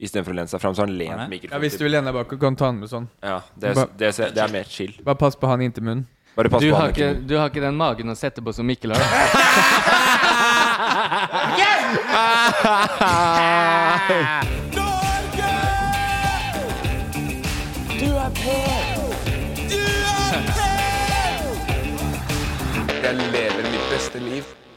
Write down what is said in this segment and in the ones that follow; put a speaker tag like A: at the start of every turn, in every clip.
A: Istedenfor å lene seg fram, så har han lent Mikkel.
B: Ja,
A: fram
B: hvis
A: til-
B: du lener deg bak og kan ta den med sånn.
A: Ja, det, er- det, er- det er mer chill.
B: Bare pass på han inntil munnen.
A: Bare pass
C: Du
A: på
C: har,
A: han.
C: ikke,
A: Mikkel.
C: du har ikke den magen å sette på som Mikkel har. da.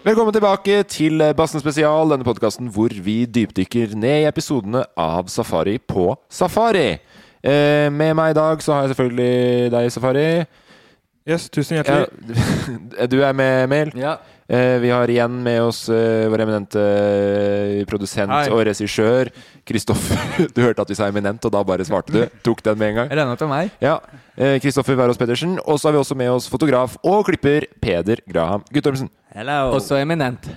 A: Velkommen tilbake til eh, Bassen spesial, denne podkasten hvor vi dypdykker ned i episodene av Safari på Safari. Eh, med meg i dag så har jeg selvfølgelig deg, Safari.
D: Yes, tusen
A: Ja,
D: hjertelig.
A: du er med, Emil.
C: Ja.
A: Eh, vi har igjen med oss eh, vår eminente eh, produsent
B: Hei.
A: og regissør Kristoffer. Du hørte at vi sa eminent, og da bare svarte du. Tok den med en gang.
B: Jeg regner at det er meg.
A: Ja. eh, Kristoffer Wærås Pedersen. Og så har vi også med oss fotograf og klipper Peder Graham Guttormsen.
B: Hello.
C: Også eminent.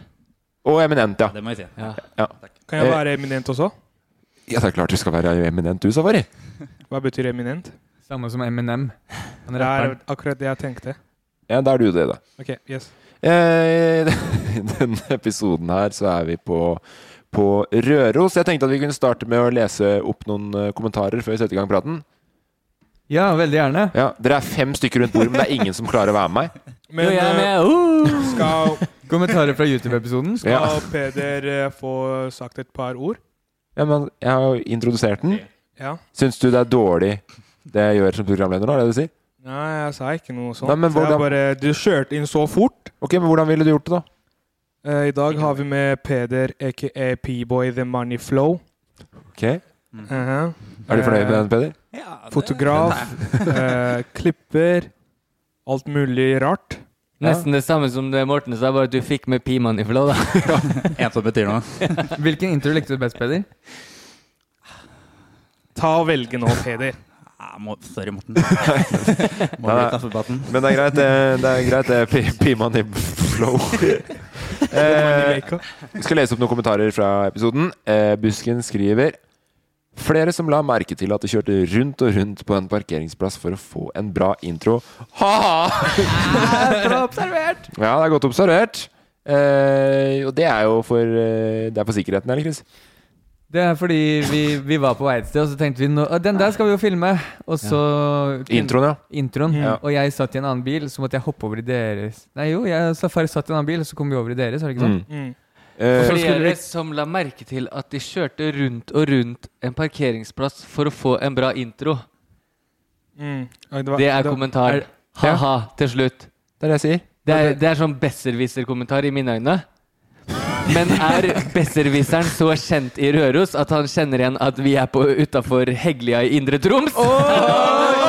A: Og eminent, ja.
B: må jeg si.
C: Ja.
D: Kan jeg
A: eh,
D: være eminent også?
A: Ja, det er klart du skal være eminent, du, Safari.
D: Hva betyr eminent?
B: Samme som Eminem. Han
D: Det er
B: rapperen.
D: akkurat det jeg tenkte.
A: Ja, da er du det, da.
D: Ok, yes.
A: Eh, I denne episoden her så er vi på, på Røros. Jeg tenkte at vi kunne starte med å lese opp noen eh, kommentarer før vi setter i gang praten.
B: Ja, veldig gjerne.
A: Ja, Dere er fem stykker rundt bordet, men det er ingen som klarer å være med meg.
D: Men
C: jo, jeg
D: eh,
C: er med. Uh!
D: skal,
B: Kommentarer fra YouTube-episoden.
A: Ja.
D: skal Peder eh, få sagt et par ord?
A: Ja, men Jeg har jo introdusert den.
D: Ja.
A: Syns du det er dårlig det jeg gjør som programleder nå? er det det du sier?
D: Nei, jeg sa ikke noe sånt.
A: Nei, men
D: Jeg
A: hvordan-
D: bare, du kjørte inn så fort.
A: Ok, men Hvordan ville du gjort det, da?
D: Eh, I dag har vi med Peder, aka P-boy The Money Flow.
A: Ok,
D: Mhm.
A: Er du fornøyd med den, Peder?
D: Fotograf, eh, klipper, alt mulig rart.
C: Nesten det samme som det Morten sa, bare at du fikk med P-man i flow, da.
E: En som betyr noe.
B: Hvilken intro likte du best, Peder?
D: Ta og velge nå, Peder.
E: Ah, må, sorry, Morten. må bli kaffebatten.
A: Men det er greit, det. Det er greit, det. Pi- Piman i flow. eh,
D: Jamaica.
A: skal lese opp noen kommentarer fra episoden. Eh, Busken skriver Flere som la merke til at de kjørte rundt og rundt på en parkeringsplass for å få en bra intro. Ha-ha!
B: Bra observert!
A: Ja, det er godt observert. Eh, og det er jo for eh, Det er for sikkerheten, eller, Chris?
B: Det er fordi vi, vi var på vei et sted, og så tenkte vi nå, «Å, den der skal vi jo filme. Og så
C: Mm.
A: Introen, ja.
B: Introen.
D: Ja.
B: Og jeg satt i en annen bil, så måtte jeg hoppe over i deres Nei jo, jeg og Safari satt i en annen bil, og så kom vi over i deres, var det ikke sånn?
A: Mm.
D: Mm.
A: Eh,
B: skulle
C: Flere
B: vi-
C: som la merke til at de kjørte rundt og rundt en parkeringsplass for å få en bra intro.
D: Mm. Oi, var-
C: Det er
D: var-
C: kommentar. Ha-ha, til slutt.
A: det er det jeg sier.
C: Det er, det er sånn besserwisser-kommentar i mine øyne. Men er besserwisseren så kjent i Røros at han kjenner igjen at vi er utafor Heglia i Indre Troms?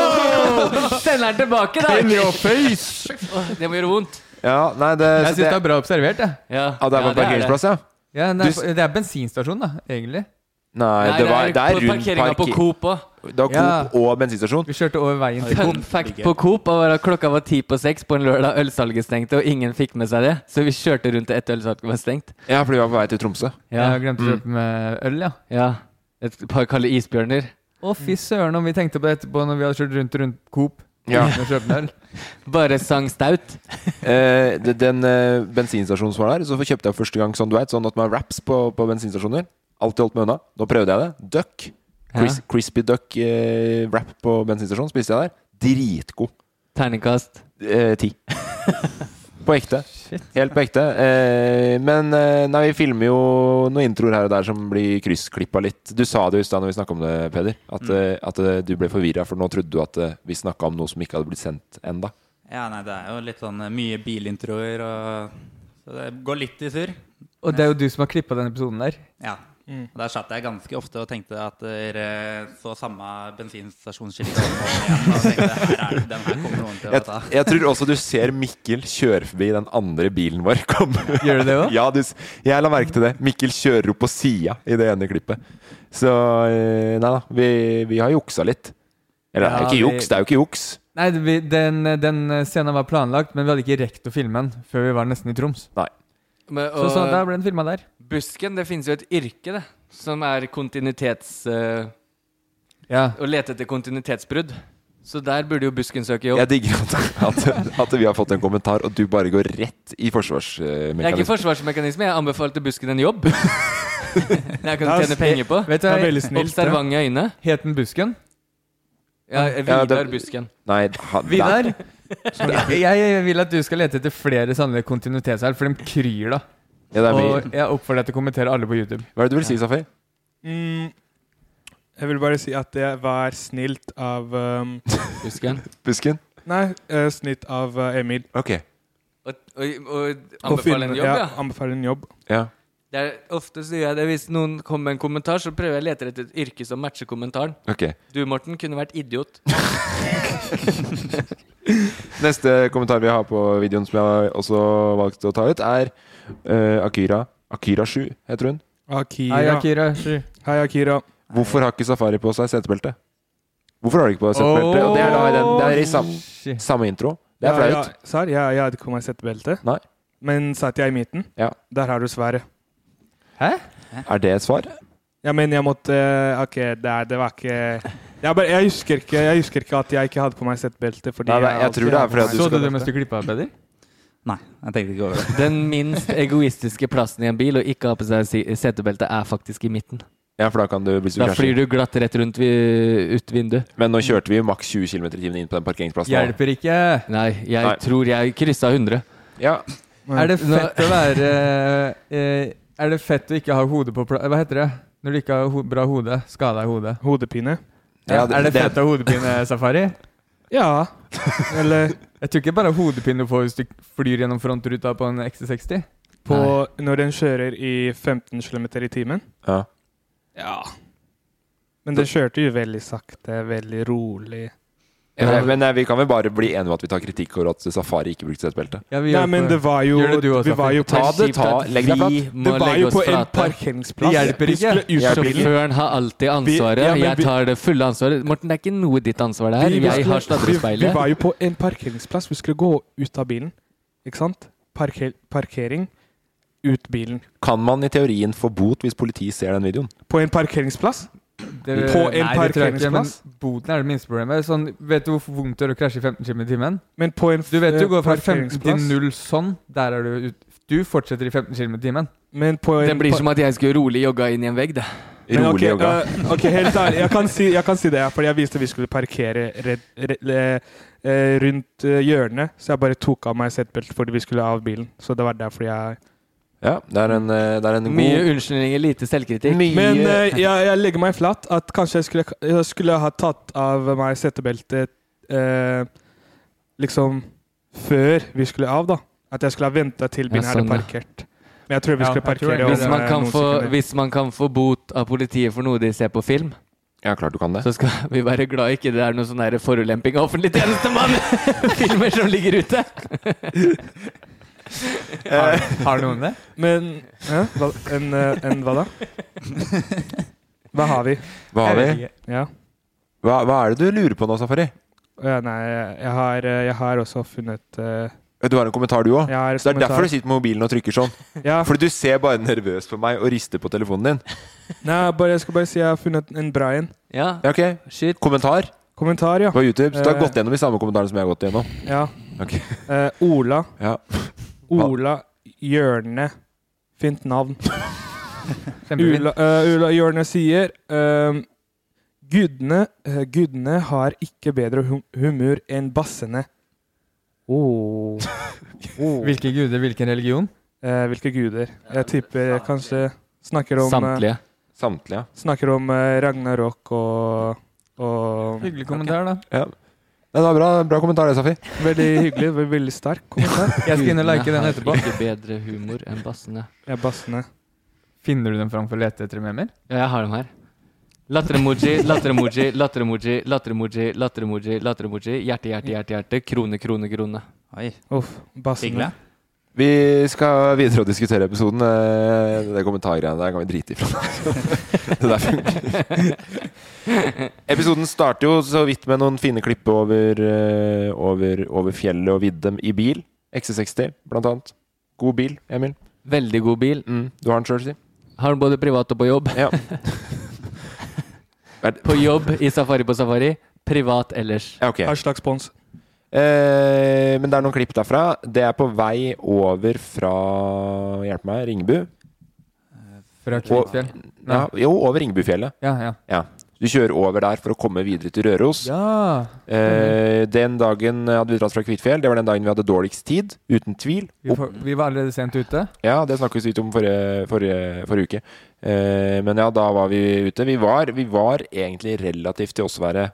C: Sender han tilbake, da! Åh, Det må gjøre vondt.
A: Ja, nei, det, så
B: Jeg syns det
A: Altså, det,
B: er bra observert, jeg.
C: Ja,
A: ah, det er på en parkeringsplass, ja?
B: Ja, det,
A: Du s-
B: er, det er bensinstasjon, da, egentlig.
A: Nei,
C: Nei,
A: det, var, det er
C: på
A: rundt
C: parkeringa på
A: parker-
C: Coop òg.
A: Det var Coop
B: Ja.
A: og bensinstasjon.
B: Vi kjørte over veien til
C: Fun fact på Coop var at klokka var ti på seks på en lørdag. Ølsalget stengte, og ingen fikk med seg det. Så vi kjørte rundt til ett ølsalg var stengt.
A: Ja, fordi vi var på vei til Tromsø.
B: Ja,
C: Ja, Mm.
B: jeg glemte å kjøpe med øl, ja.
C: ja. Et par kalde isbjørner.
B: Å, fy søren om vi tenkte på det etterpå når vi hadde kjørt rundt rundt Coop
A: Ja.
B: uten å kjøpe en øl.
C: Bare sang staut.
A: Eh, de- den eh, bensinstasjonen som var der, så kjøpte jeg første gang sånn du vet, sånn at man wraps på, på bensinstasjoner. Alltid holdt meg unna. Nå prøvde jeg det. Duck. Cris Crispy duck eh, wrap på bensinstasjonen spiste jeg der. Dritgod.
C: Terningkast.
A: Eh, ti. på ekte. Helt på ekte. Eh, men eh, nei, vi filmer jo noen introer her og der som blir kryssklippa litt. Du sa det jo i stad når vi snakka om det, Peder, at, eh, at eh, du ble forvirra, for nå trodde du at eh, vi snakka om noe som ikke hadde blitt sendt enda
E: Ja, nei, det er jo litt sånn eh, mye bilintroer og Så det går litt i surr.
B: Og det er jo du som har klippa den episoden der.
E: Ja. Og der satt jeg ganske ofte og tenkte at dere eh, så samme bensinstasjonsskiltet om og om igjen. Og tenkte her er det, den her kommer noen til å
A: Jeg,
E: ta.
A: jeg tror også du ser Mikkel kjøre forbi den andre bilen vår. Kom.
B: Gjør du det også?
A: Ja, du, s- jeg la merke til det. Mikkel kjører opp på sida i det ene klippet. Så eh, nei da, vi, vi har juksa litt. Eller det er jo
B: Ja,
A: ikke
B: vi-
A: juks, det er jo ikke juks.
B: Nei, det- vi- den, den scenen var planlagt, men vi hadde ikke rekt å filme den før vi var nesten i Troms.
C: Men,
B: Så sånn, da ble den filma der.
C: busken, det finnes jo et yrke, det. Som er kontinuitets... eh,
B: Ja.
C: å lete etter kontinuitetsbrudd. Så der burde jo busken søke jobb.
A: Jeg digger at, at, at vi har fått en kommentar, og du bare går rett i eh,
C: Jeg er ikke
A: forsvarsmekanismen.
C: forsvarsmekanisme, jeg anbefalte busken en jobb. jeg kan tjene penger på.
B: Vet du,
D: Det er
B: jeg
D: veldig snilt. det.
C: Observante øyne.
B: het den Busken.
C: Ja,
A: Ja,
C: Vidar
A: det-
C: Busken.
A: Nei, han,
B: Vidar, jeg, jeg vil at du skal lete etter flere sånne kontinuitetsfeil, for de kryr da.
A: Ja, det er mye.
B: Og jeg oppfordrer deg til å kommentere alle på YouTube.
A: Hva er det du vil si, Safi?
D: Mm, jeg vil bare si at det var snilt av um,
C: Busken.
A: Busken?
D: Nei, eh, snilt av eh, Emil.
A: Ok.
C: Og, og, og
D: Å
C: anbefale
D: finne-
C: en jobb, ja.
D: Anbefale en jobb.
A: Ja.
C: Det er, ofte så gjør jeg det hvis noen kommer med en kommentar, så prøver jeg å lete etter et yrke som matcher kommentaren.
A: ok.
C: Du, Morten, kunne vært idiot.
A: Neste kommentar vi har på videoen som jeg også valgte å ta ut, er eh, Akira. Akira 7 heter hun.
D: Akira.
B: Hei, Akira. Sju.
D: Hei, Akira.
A: Hvorfor har ikke Safari på seg setebelte? Hvorfor har de ikke på seg setebelte? Og det er da i den, det er i sam,
B: Shit.
A: samme intro. Det er
D: Ja,
A: flaut.
D: ja, Sar, ja, jeg hadde ikke på meg settebelte.
A: Nei.
D: Men satt jeg i midten?
A: Ja.
D: Der har du svaret.
A: Er det et svar?
D: Ja, men jeg måtte eh, OK, det, er- det var ikke jeg, bare, jeg, husker ikke, jeg husker ikke at jeg ikke hadde på meg settebelte. fordi
A: Nei, nei, jeg
D: alltid
A: tror det er
D: har på
A: fordi at
D: meg
A: du
B: Så du
A: skal-
B: det mens du klippa, Peder?
E: Nei, jeg tenkte ikke over det.
C: Den minst egoistiske plassen i en bil og ikke ha på seg si- setebelte er faktisk i midten.
A: Ja, for da kan du hvis du
C: Da flyr
A: krasjer.
C: du glatt rett rundt vi- ut vinduet.
A: Men nå kjørte vi maks 20 km i timen inn på den parkeringsplassen.
B: Hjelper ikke.
C: Nei, jeg
A: Nei.
C: tror jeg kryssa 100.
A: Ja,
B: Er det fett å være eh, Er det fett å ikke ha hodet på plass Hva heter det? Når du ikke har ho bra hode? Skada i hodet?
D: Hodepine?
A: Ja, det-
B: er det
A: det-
B: fett å ha hodepine-safari?
D: Ja. Eller
B: Jeg tror ikke bare hodepine du får hvis du flyr gjennom frontruta på en XC60.
D: på, når den kjører i 15 km i timen.
A: ja.
D: Ja. Men den kjørte jo veldig sakte, veldig rolig.
A: Eh, Men eh, vi kan vel bare bli enige om at vi tar kritikk over at Safari ikke brukte setebelte.
B: Ja, vi
D: Nei,
B: gjør
D: men
B: det.
D: det var jo
B: Gjør det du også,
D: Vi var jo på,
A: Ta det, ta, legg deg flat.
C: Vi
D: det
C: må
D: var
C: legge
D: jo
C: oss
D: på en
C: flate.
D: parkeringsplass.
B: Det hjelper
D: Vi skulle
B: ikke.
D: ut av bilen.
C: Sjåføren har alltid ansvaret.
D: Vi- ja, men
C: jeg
D: vi-
C: tar det fulle ansvaret. Morten, det er ikke noe ditt ansvar det her.
D: Vi- vi
C: Jeg
D: skulle-
C: har
D: Vi, vi
C: sladrespeilet.
D: var jo på en parkeringsplass. Vi skulle gå ut av bilen. Ikke sant? Parker, parkering, ut bilen.
A: Kan man i teorien få bot hvis politiet ser den videoen?
D: På en parkeringsplass?
B: Det,
D: På en
B: det tror jeg ikke,
D: parkeringsplass?
B: men boten er det minste problemet. Sånn, vet du hvor vondt det gjør å krasje i 15 km i timen?
D: Men på en
B: Du vet du
D: eh,
B: går fra 15 til
D: parkeringsplass.
B: 0 sånn. Der er du ut. Du fortsetter i 15 km i timen.
D: Men på en
C: Det blir
D: par-
C: som at jeg skulle rolig jogga inn i en vegg, det.
D: Men ok,
A: Rolig jogga.
D: eh, ok, helt ærlig. Jeg kan si, jeg kan si det, ja, fordi jeg visste vi skulle parkere redd, redd, eh, eh, rundt eh, hjørnet. Så jeg bare tok av meg setebeltet fordi vi skulle av bilen. Så det var derfor jeg
A: Ja, det er en, eh, det er en
C: Mye
A: god
C: unnskyldninger, lite selvkritikk.
D: Men eh, jeg, jeg legger meg flatt at kanskje jeg skulle, jeg skulle ha tatt av meg setebeltet eh, liksom før vi skulle av, da. At jeg skulle ha venta til bilen
C: Ja,
D: her
C: sånn,
D: og
C: ja.
D: parkert. Men jeg tror vi
B: Ja,
D: skulle
B: jeg tror
D: parkere
B: det.
D: om
C: Hvis man,
D: eh,
C: kan
D: noen
C: få,
D: sekunder.
C: hvis man kan få bot av politiet for noe de ser på film,
A: Ja, klart du kan det.
C: så skal vi være glad ikke det er noe sånn der forulemping av offentlig tjenestemann! Filmer som ligger ute.
B: Har, har noen det?
D: Men hæ? hva, en, eh, en hva da? Hva har vi?
A: Hva har vi?
D: Ja.
A: Hva, hva er det du lurer på nå, Safari?
D: Ja, nei, jeg har, eh, jeg har også funnet eh,
A: Du har en kommentar, du òg?
D: jeg har
A: Så det er derfor du
D: kommentar.
A: sitter med mobilen og trykker sånn?
D: ja, for,
A: Fordi du ser bare nervøs på meg og rister på telefonen din?
D: nei, bare, Jeg skal bare si jeg har funnet en bra en.
C: Ja,
A: Ja, ok.
C: skyt.
A: Kommentar
D: Kommentar, ja.
A: på YouTube. Så du har
D: Eh.
A: gått gjennom de samme kommentarene som jeg har gått gjennom?
D: ja.
A: Ok.
D: Eh, Ola.
A: Ja.
D: Ola Hjørne. Fint navn.
B: Kjempefint.
D: Ula, eh, Ula Hjørne sier ehm, gudene, eh, gudene har ikke bedre hum humør enn bassene. Oh. Oh.
B: Hvilke guder, hvilken religion?
D: Eh, hvilke guder? Jeg tipper jeg kanskje snakker om, eh,
C: Samtlige.
A: Samtlige.
D: snakker om eh, Ragnarok og, og
B: Hyggelig kommentar, da.
A: Ja. Nei, det var bra, bra kommentar, det, Safi.
D: Veldig hyggelig, ve- veldig sterk kommentar.
B: Jeg skal inn og like
C: Gudene
B: den
C: har
B: etterpå.
C: Ikke bedre humor enn bassene.
D: Ja, bassene.
B: Finner du den fram for å lete etter memer?
C: Ja, jeg har dem her. Latter-emoji, latter-emoji, latter-emoji, latter-emoji, latter-emoji, latter-emoji, hjerte, hjerte, hjerte, hjerte, krone, krone, krone.
E: Oi,
D: Uff, bassene.
E: hyggelig.
A: Vi skal videre og diskutere episoden. Eh, Det der kommentargreiene der kan vi drite i. fra nå. Det der funker. Episoden starter jo så vidt med noen fine klipp over, eh, over, over fjellet og vidde i bil. XC60, blant annet. God bil, Emil.
C: Veldig god bil.
A: Mm, du har den sjøl, si.
C: Har den både privat og på jobb.
A: Ja.
C: På jobb i Safari på Safari, privat ellers.
A: Ja, ok.
D: Hashtag spons.
A: Eh, men det er noen klipp derfra. Det er på vei over fra Hjelp meg, Ringebu.
B: Fra Kvitfjell?
A: Ja, jo, over Ringebufjellet.
B: Ja, ja.
A: Du kjører over der for å komme videre til Røros.
B: Ja!
A: Eh, den dagen hadde vi dratt fra Kvitfjell. Det var den dagen vi hadde dårligst tid, uten tvil.
B: Vi, får, vi var allerede sent ute.
A: Ja, det snakket vi så vidt om forrige, forrige, forrige uke. Eh, men ja, da var vi ute. Vi var, vi var egentlig relativt til oss å være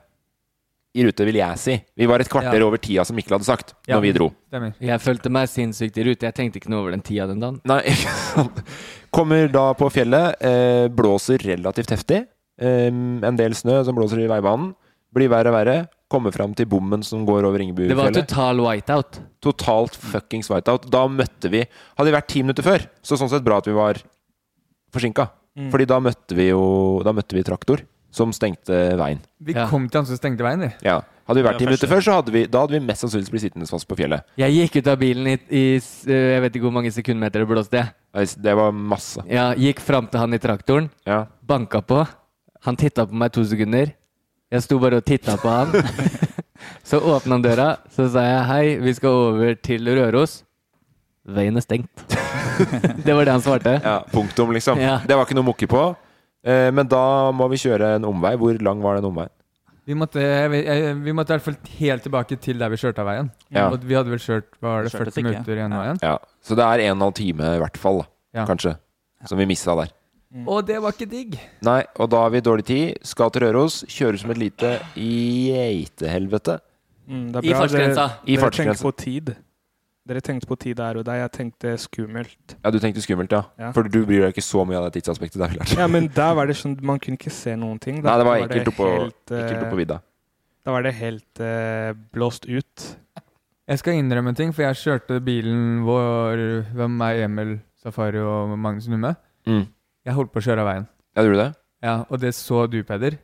A: i rute, vil jeg si. Vi var et kvarter
B: Ja.
A: over tida som Mikkel hadde sagt,
B: Ja.
A: når vi dro.
B: Stemmer.
C: Jeg følte meg sinnssykt i rute. Jeg tenkte ikke noe over den tida den dagen.
A: Nei, ikke sant. Kommer da på fjellet, eh, blåser relativt heftig. Eh, en del snø som blåser i veibanen. Blir verre og verre. Kommer fram til bommen som går over
C: Det var
A: Ingebufjellet.
C: total whiteout.
A: Totalt fuckings whiteout. Da møtte vi Hadde vi vært ti minutter før, så sånn sett bra at vi var forsinka.
E: Mm.
A: Fordi da møtte vi jo Da møtte vi traktor som stengte veien.
B: Vi
C: Ja.
B: kom til han som stengte veien, vi.
A: Ja. Hadde vi vært ti
E: Det
A: minutter
E: var første.
A: før, så hadde vi, da hadde vi mest sannsynligvis blitt sittende fast på fjellet.
C: Jeg gikk ut av bilen i, i s- eh, jeg vet ikke hvor mange sekundmeter det blåste.
A: Det var masse.
C: Ja, gikk fram til han i traktoren,
A: Ja.
C: banka på. Han titta på meg to sekunder. Jeg sto bare og titta på han. Så åpna han døra, så sa jeg hei, vi skal over til Røros. Veien er stengt. Det var det han svarte.
A: Ja, punktum, liksom.
C: Ja.
A: Det var ikke noe å mukke på. Eh, men da må vi kjøre en omvei. Hvor lang var den omveien?
B: Vi måtte, jeg- jeg- vi måtte i hvert fall helt tilbake til der vi kjørte av veien.
A: Ja.
B: Og vi hadde vel kjørt hva var det,
E: Vi kjørte
B: 40
E: ikke.
B: minutter igjen av
E: Ja.
B: veien.
A: Ja. Så det er en og en halv time i hvert fall, da.
B: Ja.
A: kanskje, som vi missa der.
D: Mm.
B: Og det var ikke digg!
A: Nei, og da har vi dårlig tid. Skal til Røros. Kjører som et lite geitehelvete.
D: Mm, det er bra
C: I
D: dere-
C: fartsgrensa.
A: I
D: Dere tenkte
A: fartsgrensen.
D: på tid. Dere tenkte på tid der og der. Jeg tenkte skummelt.
A: Ja, du tenkte skummelt, ja.
D: Ja.
A: For du bryr deg ikke så mye av det tidsaspektet. Det har vi lært.
D: Ja, men der var det sånn Man kunne ikke se noen ting.
A: Nei,
D: Da
A: det var ekkelt oppå,
D: helt, eh,
A: ekkelt oppå vidda.
D: Da var det helt eh, blåst ut.
B: Jeg skal innrømme en ting, for jeg kjørte bilen vår ved meg, Emil, Safari og Magnus Numme.
A: Mm.
B: Jeg holdt på å kjøre av veien.
A: Ja, gjorde du det?
B: Ja, og det så du, Peder.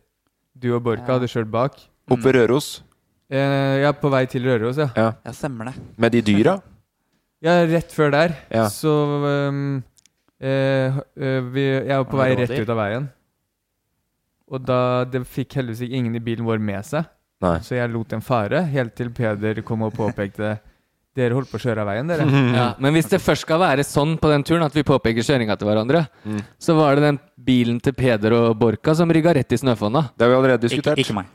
B: Du og Borka
E: Ja.
B: hadde kjørt bak.
A: Oppe ved Røros,
B: Eh, ja, på vei til Røros, ja.
E: Ja, stemmer det.
A: med de dyra.
B: Ja, rett før der.
A: Ja.
B: Så um, eh, eh, vi, Jeg var på
E: Var
B: vei
E: det
B: rett
E: rådyr?
B: ut av veien. Og da det fikk heldigvis ikke ingen i bilen vår med seg,
A: Nei.
B: så jeg lot den fare. Helt til Peder kom og påpekte Dere holdt på å kjøre av veien, dere.
C: Ja, men hvis det først skal være sånn på den turen at vi påpeker kjøringa til hverandre,
A: Mm.
C: så var det den bilen til Peder og Borka som rygga rett i snøfonna.
A: Det har vi allerede
E: Ikke,
A: diskutert.
E: ikke meg.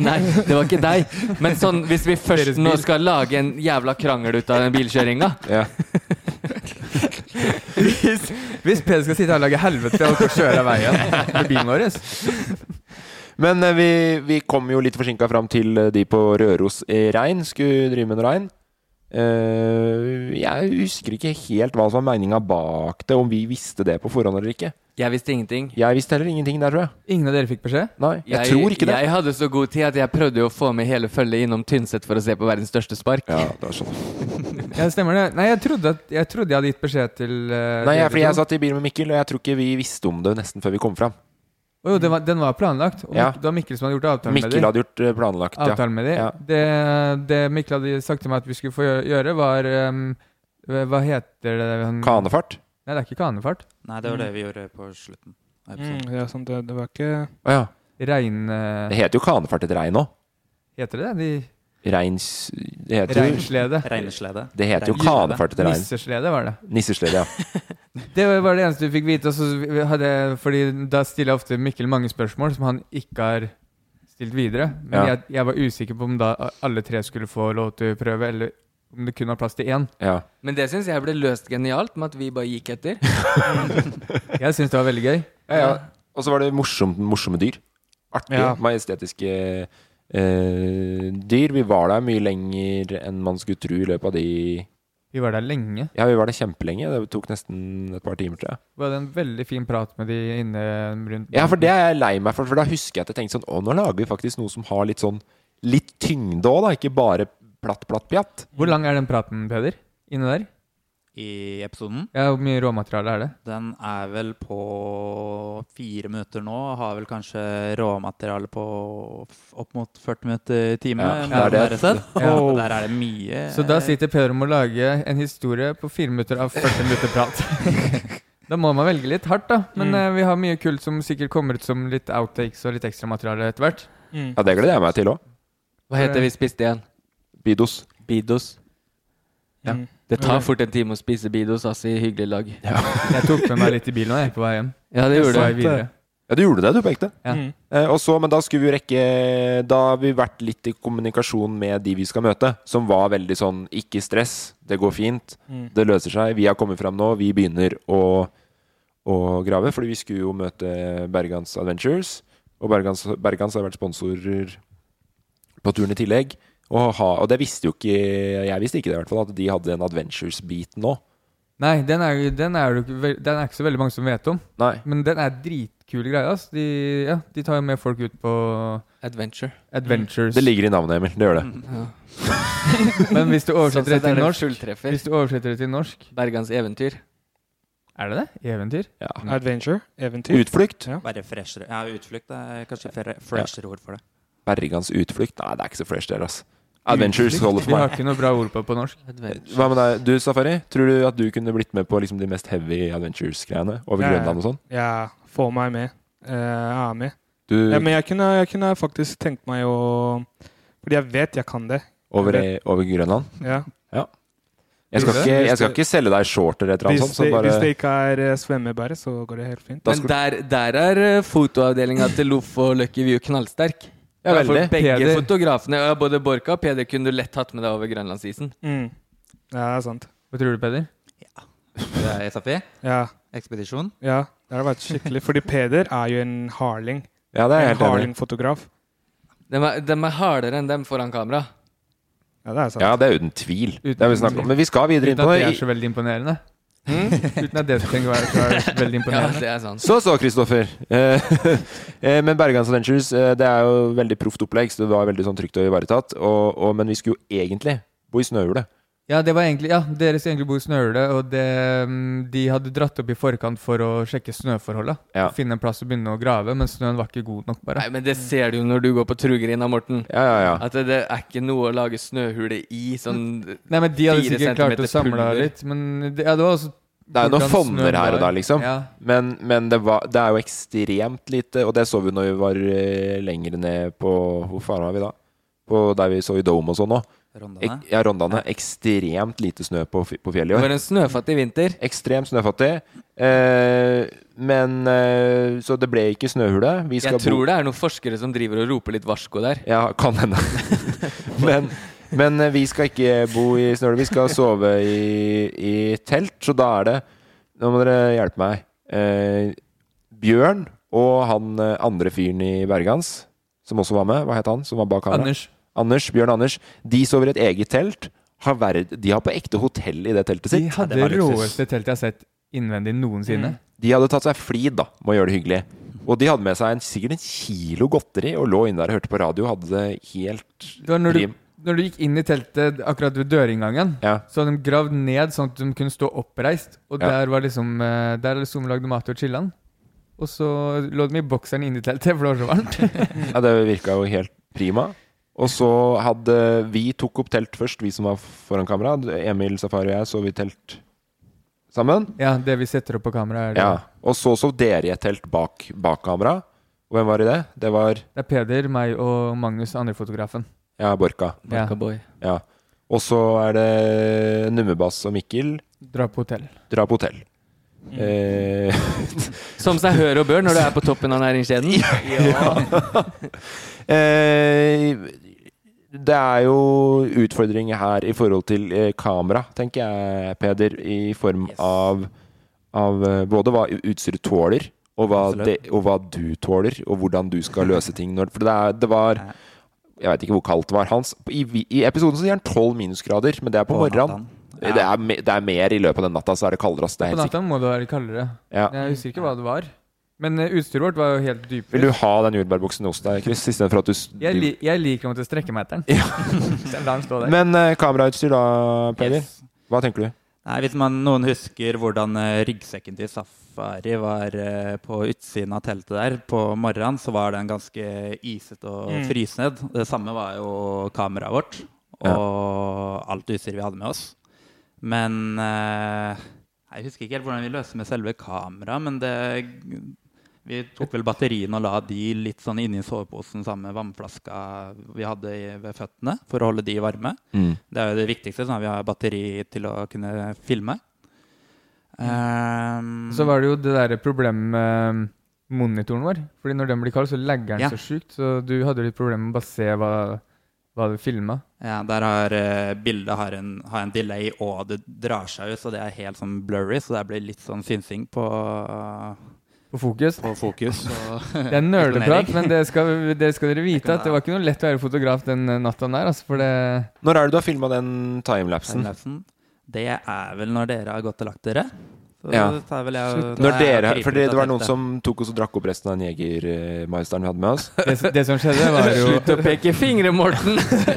C: Nei, det var ikke deg. Men sånn, hvis vi først nå skal lage en jævla krangel ut av den bilkjøringa
A: Ja.
B: Hvis, hvis Peder skal sitte her og lage helvete og holdt på å kjøre av veien med bilen vår
A: Men eh, vi, vi kom jo litt forsinka fram til eh, de på Røros i regn. Skulle drive med noe regn. Eh, jeg husker ikke helt hva som var meninga bak det, om vi visste det på forhånd eller ikke.
C: Jeg visste ingenting.
A: Jeg visste heller ingenting der, tror jeg.
B: Ingen av dere fikk beskjed?
A: Nei, jeg, tror ikke det.
C: Jeg hadde så god tid at jeg prøvde jo å få med hele følget innom Tynset for å se på verdens største spark.
A: Ja, det var sånn.
B: Ja, det stemmer det. Nei, jeg trodde, at, jeg trodde jeg hadde gitt beskjed til eh,
A: Nei,
B: dere
A: jeg, fordi
B: to.
A: jeg satt i bilen med Mikkel, og jeg tror ikke vi visste om det nesten før vi kom fram.
B: Å jo, den var, den var planlagt. Og
A: Ja.
B: Mik da Mikkel som hadde gjort avtalen med
A: Mikkel
B: dem.
A: hadde gjort eh, planlagt, ja.
B: Avtalen med dem.
A: Ja.
B: Det, det Mikkel hadde sagt til meg at vi skulle få gjø- gjøre, var ehm, Hva heter det han
A: Kanefart?
B: Nei, det er ikke kanefart.
E: Nei, det var det vi gjorde på slutten. av
D: Mm,
E: episoden.
D: det er sant, det, det var ikke
A: Å ja.
B: Regn...
A: Det
B: eh,
A: heter jo kanefart etter rein òg.
B: Heter det det?
A: Reins... Det
B: De,
A: heter, jo-
B: reinslede.
E: Regneslede.
A: det heter jo
E: Rein-
A: kanefart etter rein.
B: Nisseslede var det.
A: Nisseslede, ja.
B: Det var det eneste vi fikk vite. Og så vi hadde, fordi da stiller jeg ofte Mikkel mange spørsmål som han ikke har stilt videre. Men
A: Ja.
B: jeg, jeg var usikker på om da alle tre skulle få lov til å prøve, eller om det kun var plass til én.
A: ja.
C: Men det syns jeg ble løst genialt med at vi bare gikk etter.
B: Jeg syns det var veldig gøy.
A: ja, ja. Og så var det morsomt, morsomme dyr. Artige,
D: Ja.
A: majestetiske eh, dyr. Vi var der mye lenger enn man skulle tro i løpet av de
B: Vi var der lenge.
A: Ja, vi var der kjempelenge. Det tok nesten et par timer, tror jeg.
B: Vi hadde en veldig fin prat med de inne rundt
A: Ja, for det er jeg lei meg for, for da husker jeg at jeg tenkte sånn Å, nå lager vi faktisk noe som har litt sånn Litt tyngde òg, da. Ikke bare platt, platt, pjatt.
B: Hvor lang er den praten, Peder? Inne der?
E: I episoden.
B: Ja, Hvor mye råmateriale er det?
E: Den er vel på fire minutter nå. Har vel kanskje råmateriale på f- opp mot 40 minutter i
A: Ja,
E: timen. eh,
A: det er det.
E: Og Der er det mye
B: Så
C: Eh.
B: da sitter Peder og må lage en historie på fire minutter av 40 minutter prat. da må man velge litt hardt, da.
C: Mm.
B: Men eh, vi har mye kult som sikkert kommer ut som litt outtakes og litt ekstramateriale etter hvert.
A: Ja, det gleder jeg meg til òg.
E: eh,
C: Hva heter vi spiste igjen?
A: Bidos.
C: Bidos.
D: Ja.
C: Det
E: Mm.
C: tar fort en time å spise bidos, altså, i hyggelig lag.
B: Jeg tok med meg litt i bilen da, jeg, på vei hjem.
C: Ja, det
B: Så
C: gjorde
B: var jeg
C: det.
B: videre.
A: Ja, du gjorde det, du, på ekte.
B: Ja.
D: Mm.
A: Eh, og så, men da skulle vi jo rekke Da har vi vært litt i kommunikasjon med de vi skal møte, som var veldig sånn Ikke stress, det går fint,
D: Mm.
A: det løser seg. Vi har kommet fram nå, vi begynner å, å grave. Fordi vi skulle jo møte Bergans Adventures. Og Bergans, Bergans har vært sponsorer på turen i tillegg. Og, ha, og det visste jo ikke Jeg visste ikke det, i hvert fall, at de hadde en Adventures-bit nå.
B: Nei, den er, den, er, jo ikke vel- den er ikke så veldig mange som vet om.
A: Nei.
B: Men den er dritkul greie, ass. De, ja, de tar jo med folk ut på
C: Mm. Adventure.
B: adventures.
A: Det ligger i navnet, Emil. Det gjør det.
B: Men hvis du
C: Sånn
B: oversetter det
C: sett er
B: til
C: det
B: norsk
C: fulltreffer.
B: Hvis du oversetter det til norsk
C: Bergans eventyr.
B: Er det det? Eventyr?
A: Ja.
D: adventure, eventyr.
A: Utflukt.
E: Bare freshere. Ja, utflukt er kanskje fre- freshere ord for det.
A: Bergans utflukt. Nei, det er ikke så fresh, det der, altså. Adventures holder for
B: Vi har
A: meg.
B: ikke noe bra ord på på norsk.
C: Adventure.
A: Eh, Hva med deg, du Safari? Tror du at du kunne blitt med på liksom de mest heavy adventures-greiene? Over
D: Ja, ja.
A: Grønland og sånn?
D: Ja, få meg med. Eh, jeg er med.
A: Du,
D: Ja, men jeg kunne, jeg kunne faktisk tenkt meg å Fordi jeg vet jeg kan det.
A: over, over Grønland?
D: Ja.
A: Jeg skal,
D: Hvis
A: ikke,
D: det-
A: jeg skal
D: hvis det-
A: ikke selge deg shorter eller et eller
D: Hvis,
A: annet sånt,
D: det,
A: så
D: hvis det
A: bare
D: ikke er eh, svømmebære, så går det helt fint.
A: Da
C: Men
A: skal-
C: der, der er eh, fotoavdelinga til Loff og Lucky View knallsterk.
A: Ja,
C: for
A: veldig.
C: begge
B: Peder.
C: fotografene, ja, både Borka og Peder, kunne du lett tatt med deg over grønlandsisen.
D: Mm. Ja, det er sant.
B: Hva tror du, Peder?
E: Det er SFI.
D: Ja,
E: Ekspedisjon.
D: ja. Det har vært skikkelig. Fordi Peder er jo en harling.
A: Ja, det er jeg
D: En
A: helt enig. i.
D: harling-fotograf.
C: De er, dem er hardere enn dem foran kamera.
D: Ja, det er sant.
A: Ja, det er uten tvil. Det
B: Uten
A: har vi snakket om. Men vi skal videre inn
B: Uten
A: på Hmm?
B: at det er
A: det.
B: så veldig imponerende. Uten at det trenger å være så er det veldig
C: Ja,
B: imponerende.
C: det er sant.
A: Så så, Kristoffer. Eh, eh, men Bergans Adventures, eh, det er jo veldig proft opplegg, så det var veldig sånn trygt og ivaretatt. Og, og, men vi skulle jo egentlig bo i snøhjulet.
B: Ja, det var egentlig Ja, dere skulle egentlig bo i Snøhule, og det, mm, de hadde dratt opp i forkant for å sjekke snøforholda.
A: Ja.
B: Finne en plass å begynne å grave, men snøen var ikke god nok, bare.
C: Nei, men det ser du jo når du går på Trugrinda, Morten.
A: Ja, ja, ja.
C: At det, det er ikke noe å lage snøhule i. Sånn
B: Nei, men de hadde
C: Fire
B: sikkert klart å
C: centimeter
B: samle
C: pulver.
B: litt, men det, ja, det var også
A: Det er jo noen
B: hvordan
A: fonner
B: snøen
A: her og
B: var.
A: der, liksom.
B: Ja.
A: Men, men det, var, det er jo ekstremt lite, og det så vi når vi var eh, lenger ned på Hvor faen var vi da? På der vi så i Dome og sånn òg.
E: Rondane.
A: Ja, Rondane. Ekstremt lite snø på, fi- på fjellet i
C: Det
A: år.
C: var en snøfattig vinter.
A: Ekstremt snøfattig. Eh, men eh, Så det ble ikke snøhule. Vi skal
C: Jeg tror det er noen forskere som driver og roper litt varsko der.
A: bo Ja, kan hende. men men eh, vi skal ikke bo i snøhule. Vi skal sove i, i telt, så da er det Nå må dere hjelpe meg. Eh, Bjørn og han eh, andre fyren i Bergans, som også var med, hva het han? Som var bak kamera?
B: Anders.
A: Anders, Bjørn Anders. De sover i et eget telt. Har verd, de har på ekte hotell i det teltet
B: De
A: sitt.
B: hadde det råeste teltet jeg har sett innvendig noensinne.
A: De hadde tatt seg flid da, med å gjøre det hyggelig. Og de hadde med seg en, sikkert en kilo godteri og lå inne der og hørte på radio. Hadde det helt
B: Det var når du,
A: prim.
B: når du gikk inn i teltet akkurat ved dørinngangen,
A: Ja.
B: så hadde de gravd ned sånn at de kunne stå oppreist. Og
A: Ja.
B: der var liksom eh, Der hadde Zoom lagd mat og chilla'n. Og så lå de i bokseren inni teltet, for det var så varmt.
A: Ja, det virka jo helt prima. Og så hadde Vi tok opp telt først, vi som var foran kamera. Emil Safari og jeg sov i telt sammen.
B: Ja, det vi setter opp på kamera, er det.
A: Ja. Og så sov dere i et telt bak, bak kamera. Og hvem var i det? Det var
B: Det er Peder, meg og Magnus, andre fotografen.
A: ja, Borka.
B: Ja.
C: Boy.
A: Ja. Og så er det Nummebass og Mikkel.
B: Dra på hotell.
A: Dra på hotell. Eh,
C: Som seg hør og bør når du er på toppen av næringskjeden.
A: Eh, det er jo utfordringer her i forhold til eh, kamera, tenker jeg, Peder. I form av, av eh, både hva utstyret tåler, og hva, det, og hva du tåler, og hvordan du skal løse ting. Når, for det, er, det var Jeg veit ikke hvor kaldt det var. Hans, i, vi- I episoden så sier han 12 minusgrader, men det er på, morgenen. Eh,
E: natten.
A: Det, er, me- det er mer i løpet av den natta, så er det kaldere. ass, Det er
B: På
A: helt sikkert.
B: natta må det være kaldere.
A: Ja.
B: Jeg husker ikke hva det var. Men eh, utstyret vårt var jo helt dypere.
A: Vil du ha den jordbærbuksen hos deg, Chris? Istedenfor at du s-
B: Jeg, li jeg liker å måtte strekke meg etter den. Så jeg lar den stå der.
A: Men eh, kamerautstyr da, Peder?
E: Yes.
A: Hva tenker du?
E: Nei, hvis man, noen husker hvordan eh, ryggsekken til Safari var eh, på utsiden av teltet der på morgenen, så var den ganske isete og frysned. Det samme var jo kameraet vårt og alt utstyret vi hadde med oss. Men eh, jeg husker ikke helt hvordan vi løste med selve kameraet, men det vi tok vel batteriene og la de litt sånn inni soveposen sammen med vannflaska vi hadde i- ved føttene, for å holde de varme. Det er jo det viktigste, sånn at vi har batteri til å kunne filme. Ehm,
C: Mm.
B: Så var det jo det der problemet med eh, monitoren vår. Fordi når den blir kald, så lagger den
E: Ja.
B: så sjukt. Så du hadde litt problemer med å bare se hva, hva du filma.
E: ja, der har eh, bildet har en, har en delay, og det drar seg ut, så det er helt sånn blurry, så det blir litt sånn synsing på,
B: På fokus.
E: på fokus. Og
B: Det er nerdeprat,
E: Eksponering.
B: men det skal, det skal dere vite. at Det var ikke noe lett å være fotograf den eh, natta der. Altså, for det
A: Når er det du har filma den timelapsen?
E: timelapsen. Det er vel når dere har gått og lagt dere. Så
A: Ja.
E: det tar vel jeg, da
A: Når
E: er jeg
A: dere,
E: kryper
A: fordi
E: ut av
A: det var noen
E: teltet.
A: som tok oss og drakk opp resten av den jegermeisteren vi hadde med oss.
B: det, som- det som skjedde, var jo
C: Slutt å peke fingre, Morten!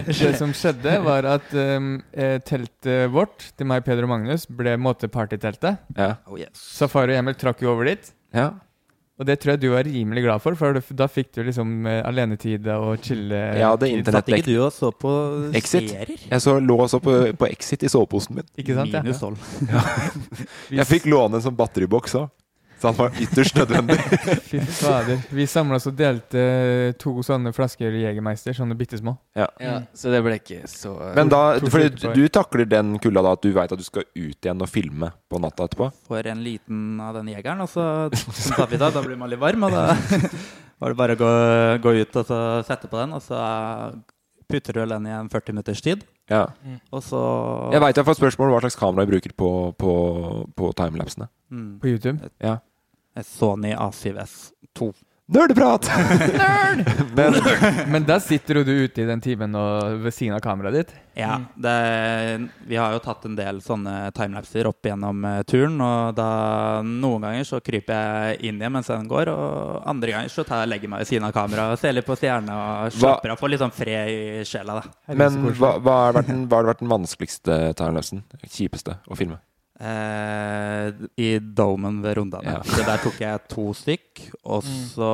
B: Det som skjedde, var at um, eh, teltet vårt til meg, Peder og Magnus ble på en måte partyteltet.
A: Ja.
E: Oh, yes.
B: Safari og Emil trakk jo over dit.
A: Ja.
B: Og det tror jeg du var rimelig glad for, for da fikk du liksom eh, alenetid og chille.
A: Jeg hadde
E: Satt ikke
A: internettdekk.
E: du og så på
A: Exit.
E: serier?
A: Jeg så, lå også på, på Exit i soveposen min.
B: Ikke sant? Ja.
E: Minus 12.
A: Jeg fikk låne en sånn batteriboks òg. Så han var ytterst nødvendig.
B: Fy fader. Vi samla oss og delte eh, to sånne flasker Jegermeister, sånne bitte små.
C: Ja, så det ble ikke så
A: Men da,
B: To
A: fordi
B: stykker på
A: du takler den kulda da at du veit at du skal ut igjen og filme på natta etterpå?
E: får en liten av den jegeren, og så så tar vi det. Da blir man litt varm, og da var det bare å gå, gå ut og så sette på den, og så putter du den i en 40 minutters tid,
A: Ja.
E: og så
A: Jeg veit jeg har fått spørsmål om hva slags kamera jeg bruker på, på, på timelapsene.
E: mm,
B: På YouTube.
A: Ja.
E: et Sony A7S2.
A: Nerdeprat! Men
B: Men der sitter jo du ute i den timen og ved siden av kameraet ditt.
E: Ja, det, vi har jo tatt en del sånne timelapser opp gjennom eh, turen, og da noen ganger så kryper jeg inn igjen mens den går, og andre ganger så tar jeg legger meg ved siden av kameraet og ser litt på stjerna og
A: Hva-
E: slapper av, får litt sånn fred i sjela, da.
A: Men hva, hva, har vært den, hva har vært den vanskeligste timelapsen? Kjipeste å filme?
E: Eh, I domen ved Rondane.
A: Ja.
E: Så der tok jeg to stykk, og så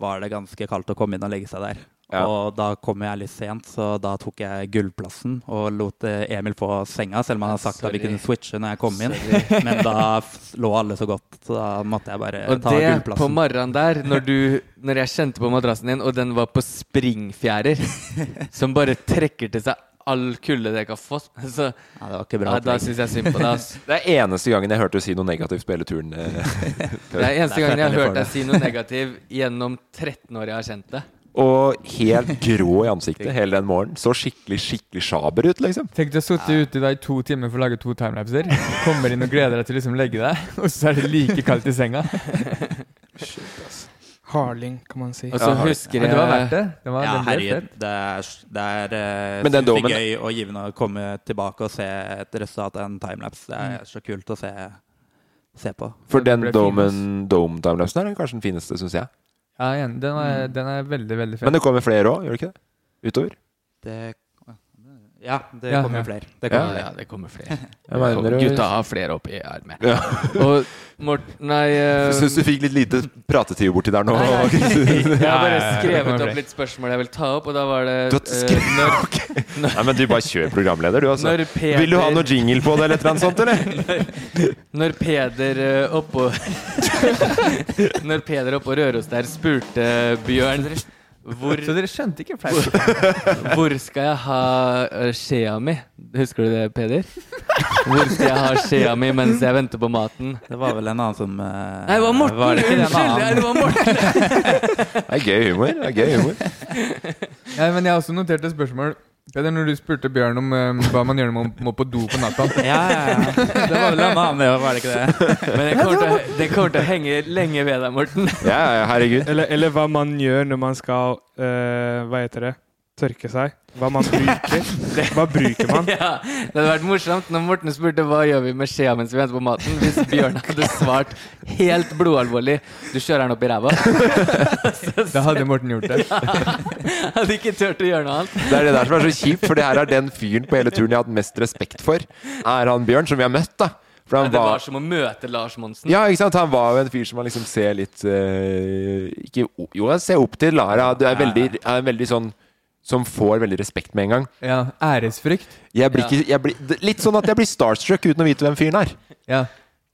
E: var det ganske kaldt å komme inn og legge seg der.
A: Ja.
E: Og da kom jeg litt sent, så da tok jeg gullplassen og lot eh, Emil få senga, selv om han hadde sagt at
C: Sorry.
E: vi kunne switche når jeg kom inn. Men da f- lå alle så godt, så da måtte jeg bare
C: Og
E: ta
C: det på
E: gullplassen.
C: morgenen der, når, du, når jeg kjente på madrassen din, og den var på springfjærer, som bare trekker til seg all kulde dere har fått, så
E: Ja, det var ikke bra.
C: ja, da
E: opplegg.
C: syns jeg synd på deg. ass.
A: Det er eneste gangen jeg hørte du si noe negativt på hele turen. eh.
C: Det er eneste gangen jeg har
E: veldig
C: hørt
E: for
C: deg si noe negativ gjennom 13 år jeg har kjent deg.
A: Og helt grå i ansiktet hele den morgenen. Så skikkelig skikkelig sjaber ut, liksom.
B: Tenk du har sittet ute da i to timer for å lage to timelapser. Kommer inn og gleder deg til å liksom legge deg, og så er det like kaldt i senga.
D: Hardling, kan man si.
C: Og så
A: Ja,
C: husker
B: Men det var verdt
C: jeg
B: det. det var,
E: Ja,
B: den ble
E: herregud.
B: fett.
E: Det er, det er eh,
A: Men den
E: sinnssykt
A: dommen-
E: gøy og givende å komme tilbake og se et resultat av en timelapse. Det er så kult å se, se på.
A: For
B: Den
A: den
B: ble fin,
A: Domen- Dome-timelapsen er den kanskje den fineste, syns jeg.
B: Ja, igjen, den, var, den er veldig, veldig
A: Men
B: fet.
A: det kommer flere òg, gjør det ikke det? Utover.
E: Det Ja, det
B: Ja,
E: kommer
B: ja.
E: flere. Det
A: Ja,
E: kommer flere.
C: Ja, det kommer flere.
A: Jeg mener,
C: Gutta har flere opp i ermet.
A: Ja.
C: Og Morten Nei. eh,
A: Jeg syns du fikk litt lite pratetid borti der nå.
C: Jeg har bare
B: det kommer
C: skrevet
B: flere.
C: opp litt spørsmål jeg vil ta opp, og da var det
A: Du har
C: eh,
A: skrevet-
C: når,
A: Nei, men du bare kjør programleder, du, altså.
C: når Peder,
A: Vil du ha noe jingle på det, eller et eller annet sånt, eller?
C: Når Peder eh, oppå Når Peder oppå Røros der spurte Bjørn hvor,
B: Så dere skjønte ikke fleip?
C: hvor skal jeg ha eh, skjea mi? Husker du det, Peder? Hvor skal jeg ha skjea mi mens jeg venter på maten?
E: Det var vel en annen som eh,
C: Nei, det var Morten!
E: det ikke en
C: Unnskyld!
E: annen?
C: Nei, det var Morten.
A: Det er gøy humor. Det er gøy humor.
B: Ja, men jeg har også notert et spørsmål. Peder, når du spurte Bjørn om eh, hva man gjør når man må på do på natta
E: Ja, ja, ja. Det var vel en annen, det, var det ikke det?
C: Men det kommer, til, å- det kommer til å henge lenge ved deg, Morten.
A: Ja, ja, herregud.
D: Eller, eller hva man gjør når man skal eh, Hva heter det? Tørke seg. Hva man bruker. Hva bruker man?
C: Ja, det hadde vært morsomt når Morten spurte hva gjør vi med skjea mens vi venter på maten, hvis Bjørn hadde svart helt blodalvorlig du kjører den opp i ræva.
B: Da hadde Morten gjort det.
C: Hadde ikke turt å gjøre noe annet.
A: Det er det der som er så kjipt, for det her er den fyren på hele turen jeg har hatt mest respekt for. Er han Bjørn, som vi har møtt, da. For
C: Men
A: han
C: det var
A: var
C: som å møte Lars Monsen.
A: ja, ikke sant? Han var jo en fyr som man liksom ser litt eh, ikke, o- Jo, jeg ser opp til Lara. Du er veldig, er veldig sånn Som får veldig respekt med en gang.
B: Ja, Æresfrykt.
A: Jeg blir
C: Ja.
A: ikke, jeg blir, det- litt sånn at jeg blir starstruck uten å vite hvem fyren er.
B: Ja.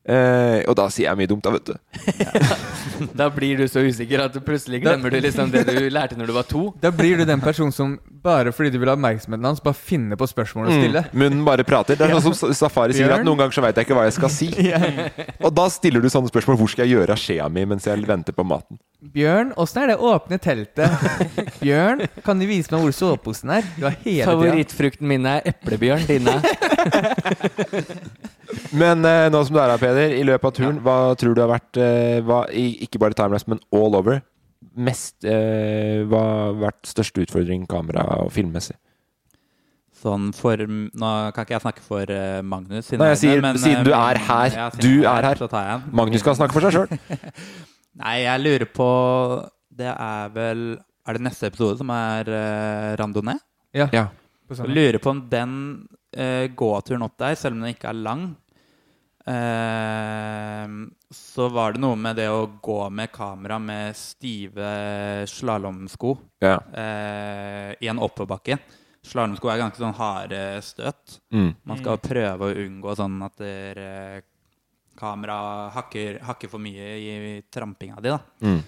A: Eh, og da sier jeg mye dumt, da, vet du.
C: Da blir du så usikker at du plutselig glemmer du liksom det du lærte når du var to.
B: Da blir du den personen som bare fordi du vil ha oppmerksomheten hans, bare finner på spørsmål
D: Mm.
B: å stille.
A: Mm. Munnen bare prater. Det er sånn som Safari sier, at
B: Bjørn?
A: noen ganger så veit jeg ikke hva jeg skal si. Og da stiller du sånne spørsmål. Hvor skal jeg gjøre av skjea mi mens jeg venter på maten?
B: Bjørn, åssen er det åpne teltet? Bjørn, kan du vise meg hvor soveposen er? Du har hele tida.
C: Favorittfrukten min er eplebjørn. Dine.
A: Men eh, nå som du er her, Peder, i løpet av turen, hva tror du har vært eh, hva, i, Ikke bare timelapse, men all over. Mest eh, Hva har vært største utfordring kamera- og filmmessig?
E: Sånn for Nå kan ikke jeg snakke for eh, Magnus. sine
A: Nei, jeg sier-
E: vegne, men,
A: siden
E: eh,
A: du er her.
E: ja, siden
A: Du
E: jeg
A: er her.
E: Så tar jeg den.
A: Magnus kan snakke for seg sjøl.
E: Nei, jeg lurer på Det er vel Er det neste episode som er eh, randonee?
B: Ja.
A: Ja.
B: På
E: Jeg
B: sånn.
E: Lurer på om den eh, gåturen opp der, selv om den ikke er lang eh, Så var det noe med det å gå med kamera med stive slalåmsko
A: Ja.
E: eh, i en oppoverbakke. Slalåmsko er ganske sånn harde støt.
A: Mm.
E: Man skal prøve å unngå sånn at der, eh, kamera hakker, hakker for mye i, i trampinga di. da.
A: Mm.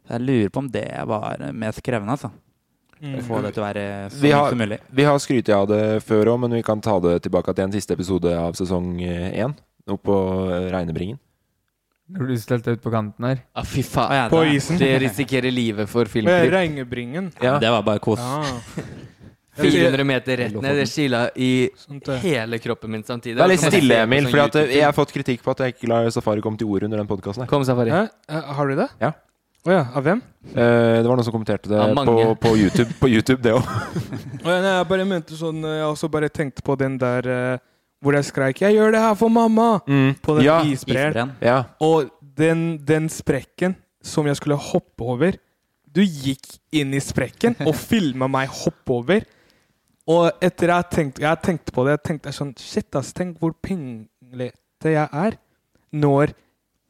E: Så Jeg lurer på om det var mest krevende. altså.
A: Mm.
E: Å Få det til å være så
A: Vi
E: mye
A: har-
E: som mulig.
A: Vi har skrytt av det før òg, men vi kan ta det tilbake til en siste episode av sesong eh, én. Oppe på eh, Regnebringen.
B: Når du stelte ut på kanten her.
C: Ah, fy
E: Å,
C: faen.
E: ja,
D: På
E: det-
D: isen.
C: Det risikerer livet for
D: Med
C: filmklipp.
D: Rengebringen.
A: Ja.
E: Det var bare kos.
D: Ah,
C: 400 meter rett ned. Det kila i
D: sånt det.
C: hele kroppen min samtidig.
A: Det er litt stille, Emil,
C: Sånn
A: for at eh,
C: YouTube-film.
A: jeg har fått kritikk på at jeg ikke lar Safari komme til orde under den podkasten.
C: Kom, Safari.
D: Hæ? Eh, Har du det?
A: Ja.
D: Å ja. Av hvem?
A: Eh, Det var noen som kommenterte det
C: Mm. Ja, mange.
A: på, på, YouTube, på YouTube, det òg.
D: Å ja, nei, jeg bare mente sånn eh, Jeg også bare tenkte på den der eh, hvor jeg skreik 'Jeg gjør det her for mamma!'
C: Mm.
D: På den
A: Ja.
D: isbreen.
E: Isbreen.
A: Ja.
D: Og den, den sprekken som jeg skulle hoppe over Du gikk inn i sprekken og filma meg hoppe over. Og etter jeg tenkte, jeg tenkte på det, jeg tenkte sånn Shit, ass, tenk hvor pinglete jeg er når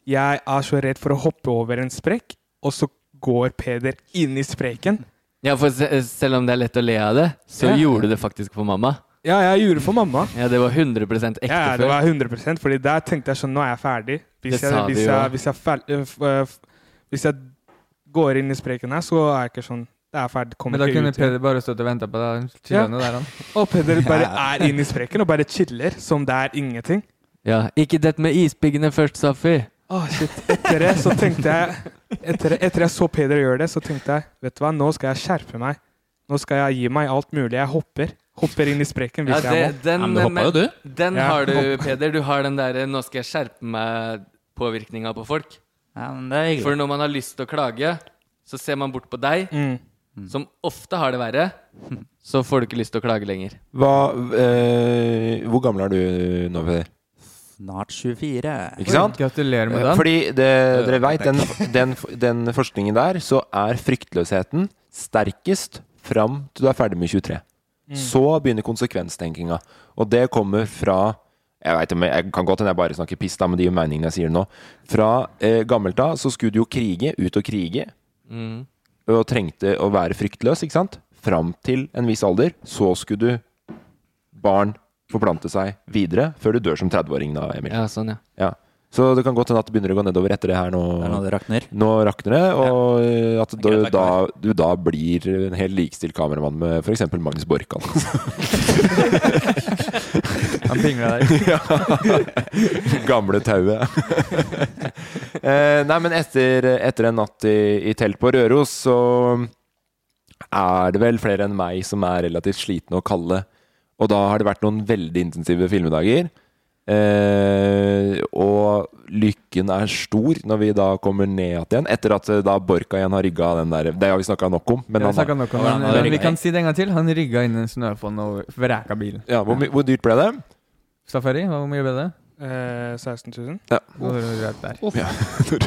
D: jeg er så redd for å hoppe over en sprekk, og så går Peder inn i sprekken.
C: Ja, for se- selv om det er lett å le av det, så
D: Ja.
C: gjorde du det faktisk for mamma.
D: Ja, jeg gjorde det for mamma.
C: Ja, det var 100 ekte
D: Ja, ja, det
C: før.
D: var 100 Fordi der tenkte jeg sånn Nå er jeg ferdig. Hvis
C: Det sa
D: jeg,
C: du
D: hvis
C: jo.
D: jeg, hvis jeg, fel, øh, f- øh, f- hvis jeg går inn i spreken her, så er jeg ikke sånn Det er ferdig. Kommer
B: Men da
D: ikke
B: kunne
D: ut. igjen.
B: Peder bare stått og venta på deg. Chillende der, han.
D: Og Peder bare er inn i spreken og bare chiller som det er ingenting.
C: Ja, ikke dette med ispiggene først, Safi.
D: Å, shit. Etter det så tenkte jeg etter, etter jeg så Peder gjøre det, så tenkte jeg Vet du hva, nå skal jeg skjerpe meg. Nå skal jeg gi meg alt mulig. Jeg hopper. Hopper inn i spreken
C: Ja,
D: hvis
C: det,
D: jeg må.
C: den,
E: Ja, men du hoppa jo, du.
C: Den
D: Ja.
C: har du, Peder. Du har den derre 'nå skal jeg skjerpe meg'-påvirkninga på folk.
E: Ja, men det er hyggelig.
C: For når man har lyst til å klage, så ser man bort på deg,
D: Mm.
C: som ofte har det verre. Så får du ikke lyst til å klage lenger.
A: Hva, eh, hvor gammel er du nå, Peder?
E: Snart 24.
A: Ikke sant?
B: Gratulerer med den.
A: Eh,
B: Eh,
A: Fordi det, dere veit, den, den, den forskningen der, så er fryktløsheten sterkest fram til du er ferdig med 23.
B: Mm.
A: Så begynner konsekvenstenkinga. Og det kommer fra jeg, vet, om jeg jeg kan godt hende jeg bare snakker piss, da, men det gir meningene jeg sier nå. Fra eh, gammelt av så skulle du jo krige, ut og krige,
B: Mm.
A: og trengte å være fryktløs, ikke sant? Fram til en viss alder. Så skulle du barn forplante seg videre, før du dør som 30-åring, da, Emil.
C: Ja, sånn, ja.
A: Ja. Så det kan godt hende at det begynner å gå nedover etter det her nå.
E: Det er nå det rakner.
A: Nå rakner det, og eh, at du,
E: greit, det er
A: da, du da blir en helt likestilt kameramann med f.eks. Magnus Borkan.
B: Han pingla der.
A: Gamle tauet. Eh, Nei, men etter, etter en natt i, i telt på Røros, så er det vel flere enn meg som er relativt slitne og kalde. Og da har det vært noen veldig intensive filmedager. Eh, og lykken er stor når vi da kommer ned igjen, etter at eh, da Borka igjen har rygga den der Det har vi snakka nok om. Men
B: Vi har
A: han,
B: snakket nok om
E: Ja,
B: det,
E: han har
B: men vi
E: rigget.
B: kan si det en gang til. Han rigga inn en snøfonn og vraka bilen.
A: ja, hvor, my- hvor dyrt ble det?
B: Safari, hva- hvor mye ble det?
D: Eh, 16 000.
B: Nå er det rett der.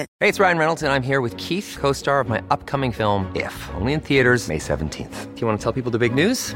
F: Hey, it's Ryan Reynolds, and I'm here with Keith, co star of my upcoming film, If, only in theaters, May 17th. Do you want to tell people the big news?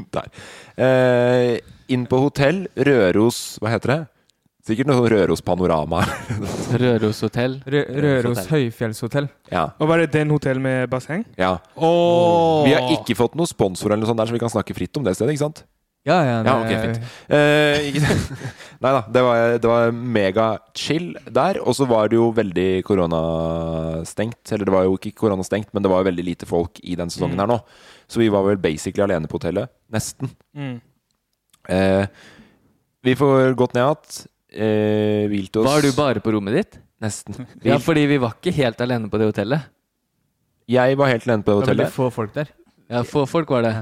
A: Der. Eh, inn på hotell. Røros Hva heter det? Sikkert noe sånn Røros Panorama.
C: Røros Eh, hotell.
B: Rø Røros høyfjellshotell.
A: ja.
D: Og var det den hotell med basseng?
A: ja.
D: Åh!
A: Vi har ikke fått noen sponsor, eller noe sånt der, så vi kan snakke fritt om det stedet. ikke sant?
B: Ja, ja.
A: Ja, ok, fint. Eh, ikke, nei da, det var, det var megachill der. Og så var det jo veldig koronastengt. Eller det var jo ikke koronastengt, men det var jo veldig lite folk i den sesongen her nå. Så vi var vel basically alene på hotellet. Nesten.
D: Mm.
A: Eh, vi får gått ned igjen. Eh, hvilt oss
C: Var du bare på rommet ditt?
A: Nesten.
C: Ja, fordi vi var ikke helt alene på det hotellet.
A: Jeg var helt alene på det
B: Det var veldig
A: hotellet.
B: få folk der.
C: Ja, få folk var det.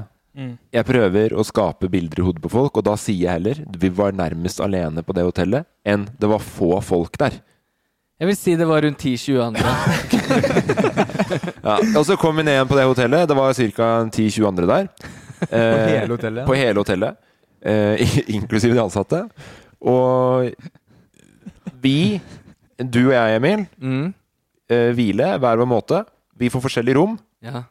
A: Jeg prøver å skape bilder i hodet på folk, og da sier jeg heller vi var nærmest alene på det hotellet enn det var få folk der.
C: Jeg vil si det var rundt 10-20 andre.
A: Ja. Og så kom vi ned igjen på det hotellet. Det var ca. 10-20 andre der.
B: På
A: Eh,
B: hele hotellet.
A: på hele hotellet, eh, inklusiv de ansatte. Og vi, du og jeg, Emil,
C: Mm.
A: eh, hvile hver vår måte. Vi får forskjellige rom.
C: Ja.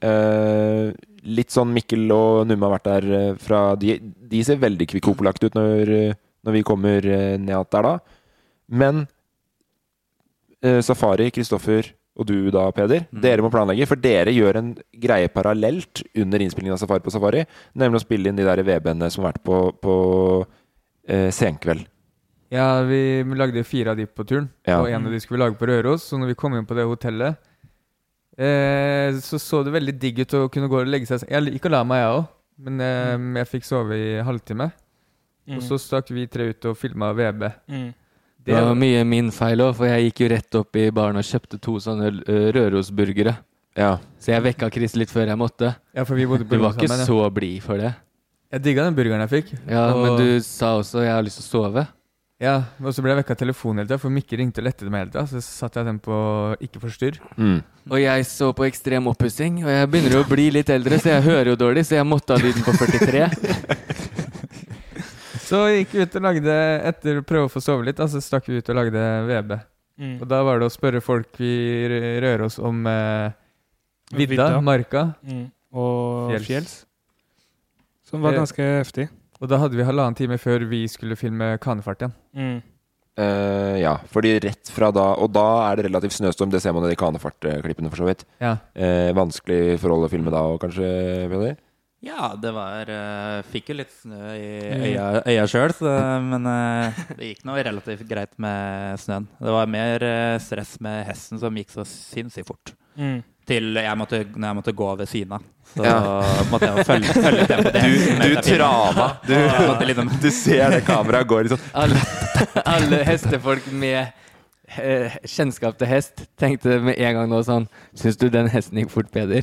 A: Eh, litt sånn Mikkel og Numme har vært der eh, fra De, de ser veldig kvikkopolakt ut når, eh, når vi kommer eh, ned att der, da. Men eh, Safari, Kristoffer og du da, Peder, dere må planlegge. For dere gjør en greie parallelt under innspillingen av Safari på Safari. Nemlig å spille inn de der VB-ene som har vært på, på eh, Senkveld.
B: Ja, vi lagde fire av de på turen,
A: Ja.
B: og en av de skulle vi lage på Røros. Så når vi kom inn på det hotellet, eh, så så det veldig
D: Mm.
B: digg ut å kunne gå og legge seg. Jeg gikk og la meg, jeg òg, men eh, jeg fikk sove i halvtime. Og så stakk vi tre ut og filma VB.
D: Mm.
C: Det var mye min feil òg, for jeg gikk jo rett opp i baren og kjøpte to sånne eh, Rørosburgere. Så jeg vekka Chris litt før jeg måtte.
B: Ja, for vi bodde på
C: Du var
B: rom
C: ikke
B: sammen, ja.
C: så blid for det.
B: Jeg digga den burgeren jeg fikk.
C: Ja,
B: og,
C: Men du sa også 'jeg har lyst til å sove'.
B: ja, og så ble jeg vekka av telefonen hele tida, for Mikke ringte og lette meg hele tida. Så satt jeg den på ikke forstyrr.
A: Mm.
C: Og jeg så på ekstrem oppussing, og jeg begynner jo å bli litt eldre, så jeg hører jo dårlig, så jeg måtte ha lyden på 43.
B: Så gikk vi ut og lagde Etter å prøve å få sove litt, da, så stakk vi ut og lagde VB.
D: Mm.
B: Og da var det å spørre folk vi rø- rører oss om eh, vidda,
D: Vidda.
B: marka,
D: Mm. Og
B: fjells.
D: fjells. Som var
B: Eh,
D: ganske heftig.
B: Og da hadde vi halvannen time før vi skulle filme Kanefart igjen.
D: Mm.
A: Eh, ja, fordi rett fra da Og da er det relativt snøstorm. Det ser man i de kanefartklippene, for så vidt.
B: Ja.
A: Eh, vanskelig forhold å filme da òg, kanskje? Peder?
E: Ja, det var eh, Fikk jo litt snø i
B: Mm.
E: øya, øya sjøl, men eh, det gikk nå relativt greit med snøen. Det var mer eh, stress med hesten som gikk så sinnssykt fort.
D: Mm.
E: Til jeg måtte, når jeg måtte gå ved siden av. Så
A: Ja.
E: måtte jeg jo følge, følge tempoet til
A: Du,
E: hesten.
A: du trava. Du,
E: Jeg måtte liksom
A: du ser det kameraet går i sånn
C: Alle, alle hestefolk med eh, kjennskap til hest tenkte med en gang nå sånn Syns du den hesten gikk fort, Peder?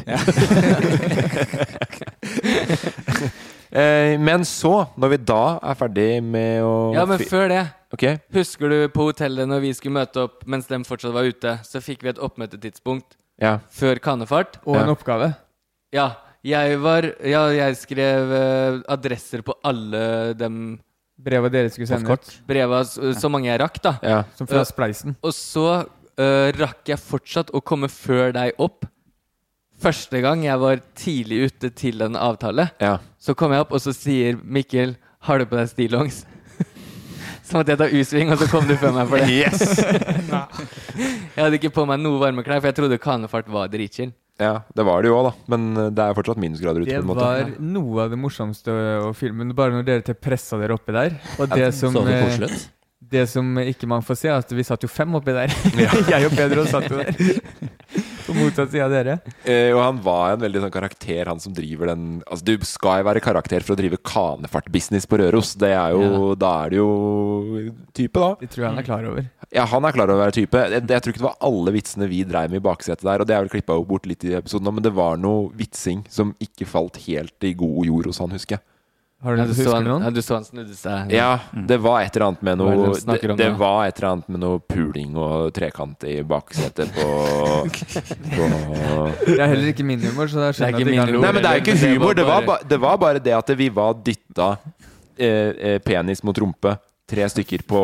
A: Eh, men så, når vi da er ferdig med å
C: Ja, men
A: fi-
C: før det
A: Ok,
C: Husker du på hotellet når vi skulle møte opp mens de fortsatt var ute, så fikk vi et oppmøtetidspunkt
A: ja.
C: før kanefart?
B: Og en
A: Ja.
B: oppgave.
C: Ja. Jeg var Ja, jeg skrev eh, adresser på alle de
B: Brevet dere skulle sende ut.
C: breva, så, så mange jeg rakk, da.
A: ja.
B: Som fra
C: Ja.
B: Spleisen.
C: Og så eh, rakk jeg fortsatt å komme før deg opp. Første gang jeg var tidlig ute til en avtale,
A: Ja.
C: så kom jeg opp, og så sier Mikkel 'Har du på deg stillongs?' Så måtte jeg ta U-sving, og så kom du før meg for det.
A: Yes!
C: Jeg hadde ikke på meg noe varme klær, for jeg trodde kanefart var dritchill.
A: Ja, det var det jo òg, da. Men eh, det er fortsatt minusgrader ute.
B: Det
A: på en måte.
B: var noe av det morsomste å filme. Bare når dere til pressa dere oppi der. Og det som,
E: Så det
B: eh,
E: koselig ut.
B: det som ikke man får se, er at vi satt jo fem oppi der. Jeg og Pedro satt jo der. På motsatt side av dere.
A: Eh, og han var en veldig sånn karakter, han som driver den Altså, du skal jo være karakter for å drive kanefartbusiness på Røros. Det er jo Da er det jo type, da.
B: Det tror
C: Mm.
B: jeg han er klar over.
A: Ja, han er klar over å være type. Jeg, jeg tror ikke det var alle vitsene vi dreiv med i baksetet der, og det er vel klippa bort litt i episoden nå, men det var noe vitsing som ikke falt helt i god jord hos han, husker jeg.
B: Har du
C: Ja, du, så
B: husker
C: han,
B: du noen?
C: ja, du så han snudde seg.
A: Ja, det var et eller annet med
C: Hva er
A: noe
C: det de
A: Det,
C: snakker om
A: det
C: da?
A: var et eller annet med noe puling og trekant i baksetet på, på
B: Det er heller ikke min humor, så da
C: Det er
B: skjønner jeg at
C: ikke min
B: ikke han
C: humor.
A: Nei, men det er jo ikke humor. Det var,
C: bare-
A: ba, det var bare det at vi var dytta eh, eh, penis mot rumpe, tre stykker på,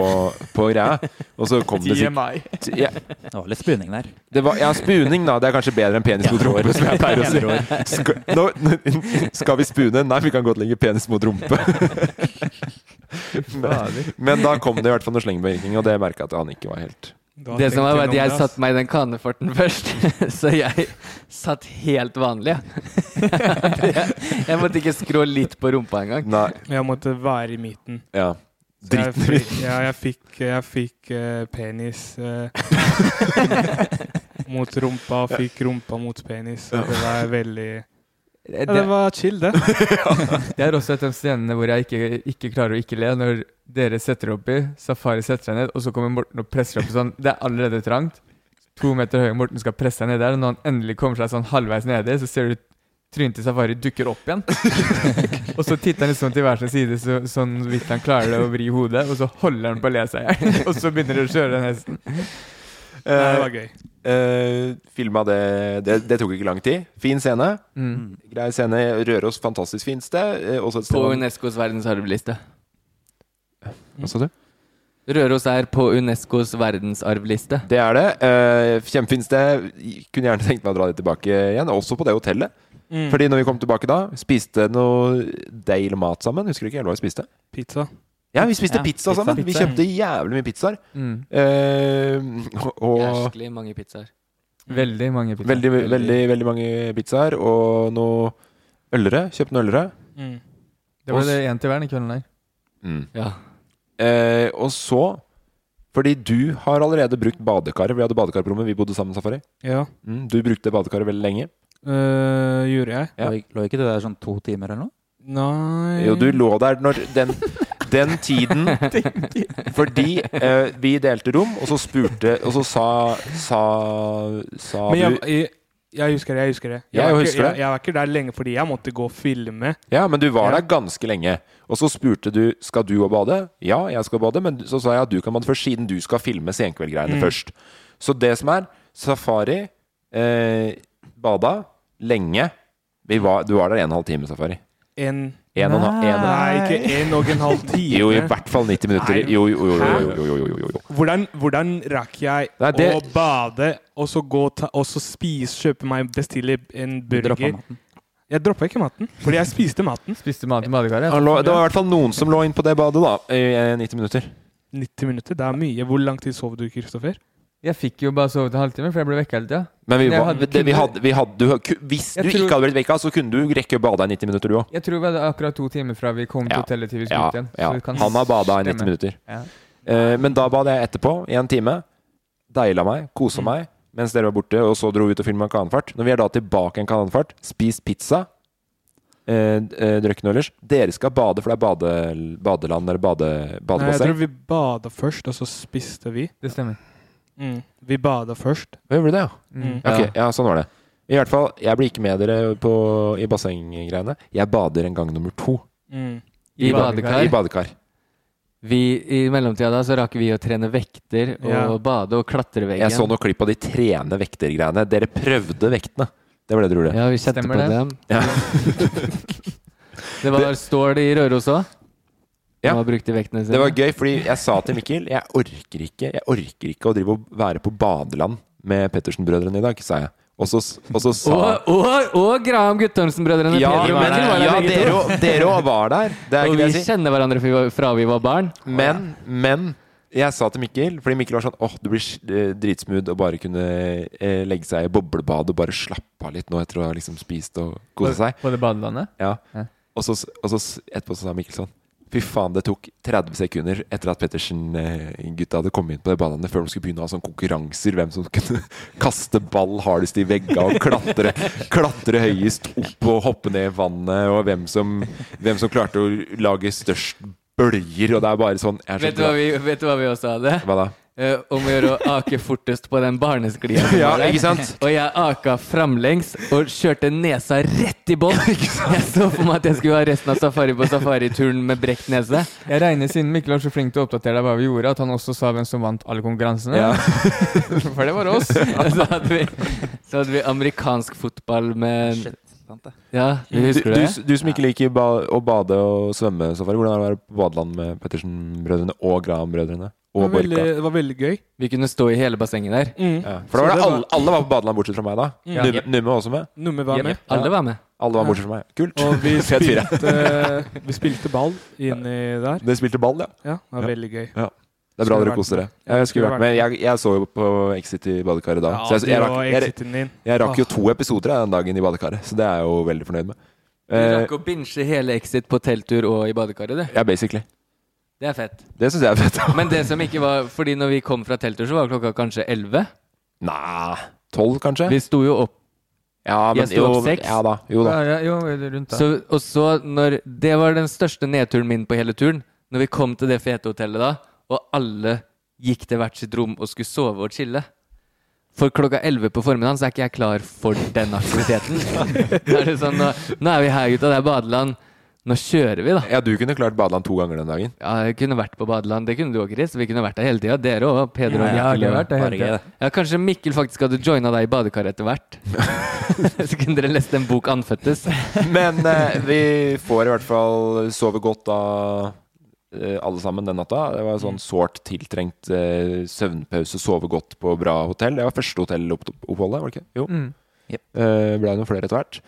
A: på greia, og så kom det sikkert ja,
E: Det var litt spuning der.
A: det var, ja, spuning, da. Det er kanskje bedre enn penis mot rumpe, som jeg pleier å si. Skal, nå, skal vi spune? Nei, vi kan godt legge penis mot rumpe. Men, men da kom det i hvert fall noe slengbevirkning, og det merka jeg at han ikke var helt
D: Da
C: Det
D: tenkte
C: som var, var at jeg
D: noen, ass.
C: satte meg i den kanefarten først, så jeg satt helt vanlig. Jeg, jeg måtte ikke skrå litt på rumpa engang.
A: Nei,
D: Men jeg måtte være i midten.
A: ja.
D: Så jeg
A: Dritten
D: fikk- Ja, jeg fikk, jeg fikk eh, penis eh, mot rumpa, og fikk rumpa mot penis. Så det var veldig ja, Det var chill, det.
B: Det er også et av de scenene hvor jeg ikke, ikke klarer å ikke le. Når dere setter opp i, Safari setter seg ned, og så kommer Morten og presser opp sånn. Det er allerede trangt. To meter høy, Morten skal presse seg ned der. Og når han endelig kommer seg sånn halvveis nedi, så ser du trynet til Safari dukker opp igjen. og så titter han liksom til hver sin side, så, sånn vidt han klarer det å vri hodet. Og så holder han på å le seg i hjel. og så begynner de å kjøre den hesten.
D: Det var gøy.
A: Eh, filma det, det Det tok ikke lang tid. Fin scene. Grei scene. Røros, fantastisk fint sted. Eh, også et sted
C: På
A: man-
C: Unescos verdensarvliste.
A: Hva sa du?
C: Røros er på Unescos verdensarvliste.
A: Det er det. Eh, kjempefint sted. Kunne gjerne tenkt meg å dra det tilbake igjen. Også på det hotellet.
E: Mm.
D: Mm.
A: Fordi når vi kom tilbake da, spiste noe deilig mat sammen. Husker du ikke helt hva vi spiste?
D: Pizza.
A: Ja, vi spiste
E: Ja,
A: pizza,
E: pizza,
A: sammen. Vi
E: pizza.
A: kjøpte jævlig mye pizzaer.
B: Mm.
A: Eh, og- og
C: Jæsklig mange pizzaer.
D: Mm.
B: Veldig mange pizzaer.
A: veldig, veldig, veldig mange pizzaer. Og noe ølere. Kjøpte noe ølere.
D: Mm.
B: Det var det én til hver den kvelden der.
A: Mm.
C: Ja.
A: Eh, og så Fordi du har allerede brukt badekaret. Vi hadde badekar på rommet, vi bodde sammen, Safari.
D: Ja.
A: Mm, du brukte badekaret veldig lenge.
D: Eh, gjorde jeg?
A: Ja.
D: Mm.
E: Lå, lå ikke du der sånn to timer eller noe?
D: Nei
A: Jo, du lå der når den den tiden Fordi eh, vi delte rom, og så spurte Og så sa, sa, sa
D: Men jeg,
A: du
D: jeg, jeg husker det. Jeg husker det.
A: Ja, jeg
D: var ikke-
A: husker det.
D: Jeg, jeg var ikke der lenge fordi jeg måtte gå og filme.
A: Ja, men du var
D: Ja.
A: der ganske lenge. Og så spurte du skal du òg bade. Ja, jeg skal bade, men så sa jeg at du kan bade først, siden du skal filme senkveldgreiene
D: Mm.
A: først. Så det som er, safari eh, bada lenge. Vi var, du var der en og en halv time, safari.
D: En
A: En og en halv- en og-
D: Nei, ikke en og en halv time.
A: Jo, i hvert fall 90 minutter.
D: Nei.
A: Jo, jo, jo, jo,
D: Hæ?
A: jo, jo, jo, jo, jo, jo.
D: Hvordan, hvordan rakk jeg
A: Nei, det-
D: å bade, og så gå ta, og så spise, kjøpe meg, bestille en burger?
E: droppet maten.
D: Jeg droppa ikke maten, fordi jeg spiste maten.
B: Spiste mat i badekaret.
A: Han lå, det var i hvert fall noen som lå inn på det badet, da. I eh, 90 minutter.
D: 90 minutter, det er mye. Hvor lang tid sov du, Kristoffer?
B: Jeg fikk jo bare sove til halvtime, for jeg ble vekka hele tida.
A: Men vi,
B: Jeg
A: var,
B: hadde-
A: det, vi hadde, vi hadde, du, ku- hvis du
B: Jeg tror-
A: ikke hadde blitt vekka, så kunne du rekke å bade i 90 minutter, du òg.
B: Jeg tror vi hadde akkurat to timer fra vi kom til
A: Ja.
B: hotellet til vi skulle
A: Ja,
B: ut igjen. så
A: ja.
B: det kan
A: Han har bada i
B: stemme.
A: 90 minutter.
B: Ja.
A: Eh, men da bad jeg etterpå i en time. Deila meg, kosa
B: Mm.
A: meg mens dere var borte, og så dro vi ut og filma kanonfart. Når vi er da tilbake i en kanonfart, spist pizza, eh, d- eh, drukket noe ellers Dere skal bade, for det er bade, badeland eller bade,
D: Nei, jeg
A: badebasseng.
D: tror vi bada først, og så spiste vi.
B: Det stemmer.
D: Vi bada først.
A: Hva gjorde det, ja?
B: Mm.
A: Ok, Mm. ja, sånn var det. I hvert fall, jeg blir ikke med dere på, i bassenggreiene. Jeg bader en gang nummer to.
D: Mm.
C: I
A: I
C: badekar.
A: badekar.
C: Vi, I mellomtida da så rakk vi å trene vekter og
D: Ja.
C: bade og klatre veggen.
A: Jeg så noen klipp av de trene vektergreiene. Dere prøvde vektene. Det var det dere gjorde.
C: Ja, vi kjente
B: Stemmer
C: på
B: det.
C: dem.
A: Ja.
C: Det var stål i Røros òg.
A: Ja.
C: Ja. Brukte vektene sine.
A: Det var gøy, fordi jeg sa til Mikkel Jeg orker ikke Jeg orker ikke å drive og være på badeland med Pettersen-brødrene i dag, sa jeg. Og så, og så sa
C: og, og, og Graham Guttormsen-brødrene.
A: Ja,
C: Peder og
A: men,
C: Mikkel var der
A: ja
C: begge to.
A: dere òg- dere òg var der. Det er
C: og
A: ikke
C: vi
A: det jeg sier.
C: kjenner hverandre fra vi var- fra vi var barn.
A: Men, men jeg sa til Mikkel, fordi Mikkel var sånn åh, du blir eh, dritsmooth og bare kunne eh, legge seg i boblebad og bare slappe av litt nå etter å ha liksom spist og kose seg.
B: På det badelandet.
A: Ja.
B: Ja.
A: Og så, og så s- etterpå så sa Mikkel sånn Fy faen, det tok 30 sekunder etter at Pettersen-gutta hadde kommet inn på det badelandet før de skulle begynne å ha sånne konkurranser hvem som kunne kaste ball hardest i vegga og klatre, klatre høyest opp og hoppe ned i vannet, og hvem som, hvem som klarte å lage størst bølger, og det er bare sånn jeg er så
C: Vet du, hva
A: glad-
C: vi, vet du hva vi også hadde?
A: Hva da?
C: Eh, om å gjøre å ake fortest på den barnesklia. som
A: Ja,
C: var der.
A: ikke sant?
C: Og jeg aka framlengs og kjørte nesa rett i bånn. Jeg så for meg at jeg skulle ha resten av safari på safarituren med brekt nese.
B: Jeg regner siden Mikkel var så flink til å oppdatere deg hva vi gjorde, at han også sa hvem som vant alle konkurransene.
A: Ja.
B: For det var oss.
C: Så hadde vi, så hadde vi amerikansk fotball med
E: Shit, sant det.
C: Ja, du
A: Du,
C: husker
A: du,
C: det?
A: s- du som ikke liker ba å bade og svømme, Safari, hvordan er det å være på badeland med Pettersen-brødrene og Graham-brødrene?
D: Det
A: Og
D: var veldig,
A: Borka?
D: det var veldig gøy.
C: Vi kunne stå i hele bassenget der.
A: Ja. For da var
D: Så
A: det
D: det var- Mm.
A: alle, alle var på badeland bortsett fra meg da.
D: Ja.
A: Numme, Numme var også med.
D: Numme var med.
C: Alle var med.
A: Alle var bortsett fra meg. Kult.
D: Og vi
A: Fet fyr, ja.
D: spilte, vi spilte ball inni der.
A: Dere spilte ball, ja.
D: Ja, det var
A: Ja.
D: veldig gøy.
A: Det er bra
D: Skulle
A: dere
D: vært
A: koser dere.
D: med.
A: Jeg skulle vært med.
D: med.
A: Jeg, jeg så jo på Exit i badekaret da.
D: Ja,
A: Så jeg, jeg,
D: det
A: rakk,
D: var
A: jeg,
D: exiten din. Ah.
A: jeg rakk jo to episoder av den dagen i badekaret, så det er jeg jo veldig fornøyd med.
C: Du
A: Eh,
C: rakk å binche hele Exit på telttur og i badekaret, du.
A: ja, basically.
C: Det er fett.
A: Det syns jeg er fett.
C: Men det som ikke var Fordi når vi kom fra telttur, så var klokka kanskje 11.
A: Nei, tolv kanskje?
C: Vi sto jo opp
A: Ja, men
C: Jeg sto
A: jo,
C: opp seks.
A: ja da. Jo da.
B: Ja, ja, jo, eller rundt da.
C: så, Og så når Det var den største nedturen min på hele turen. Når vi kom til det fete hotellet da, og alle gikk til hvert sitt rom og skulle sove og chille. For klokka 11 på formiddagen så er ikke jeg klar for den aktiviteten. Da er det sånn, nå, nå er vi her, gutta. Det er badeland. Nå kjører vi, da.
A: Ja, du kunne klart badeland to ganger den dagen.
C: Ja, jeg kunne vært på badeland. Det kunne du òg, Chris. Vi kunne vært der hele tida. Dere òg. Peder og
B: Ja,
C: Mikkel.
B: det
C: og-
B: har vært det
E: Bare
B: hele
E: gøy,
B: tiden.
E: det.
C: Ja, kanskje Mikkel faktisk hadde joina deg i badekaret etter hvert. så kunne dere lest en bok anføttes.
A: Men eh, vi får i hvert fall sove godt da eh, alle sammen den natta. Det var
B: Mm.
A: sånn sårt tiltrengt eh, søvnpause, sove godt på bra hotell. Det var første hotelloppholdet, var det ikke? Jo.
B: Mm.
A: Eh, ble noen flere etter hvert.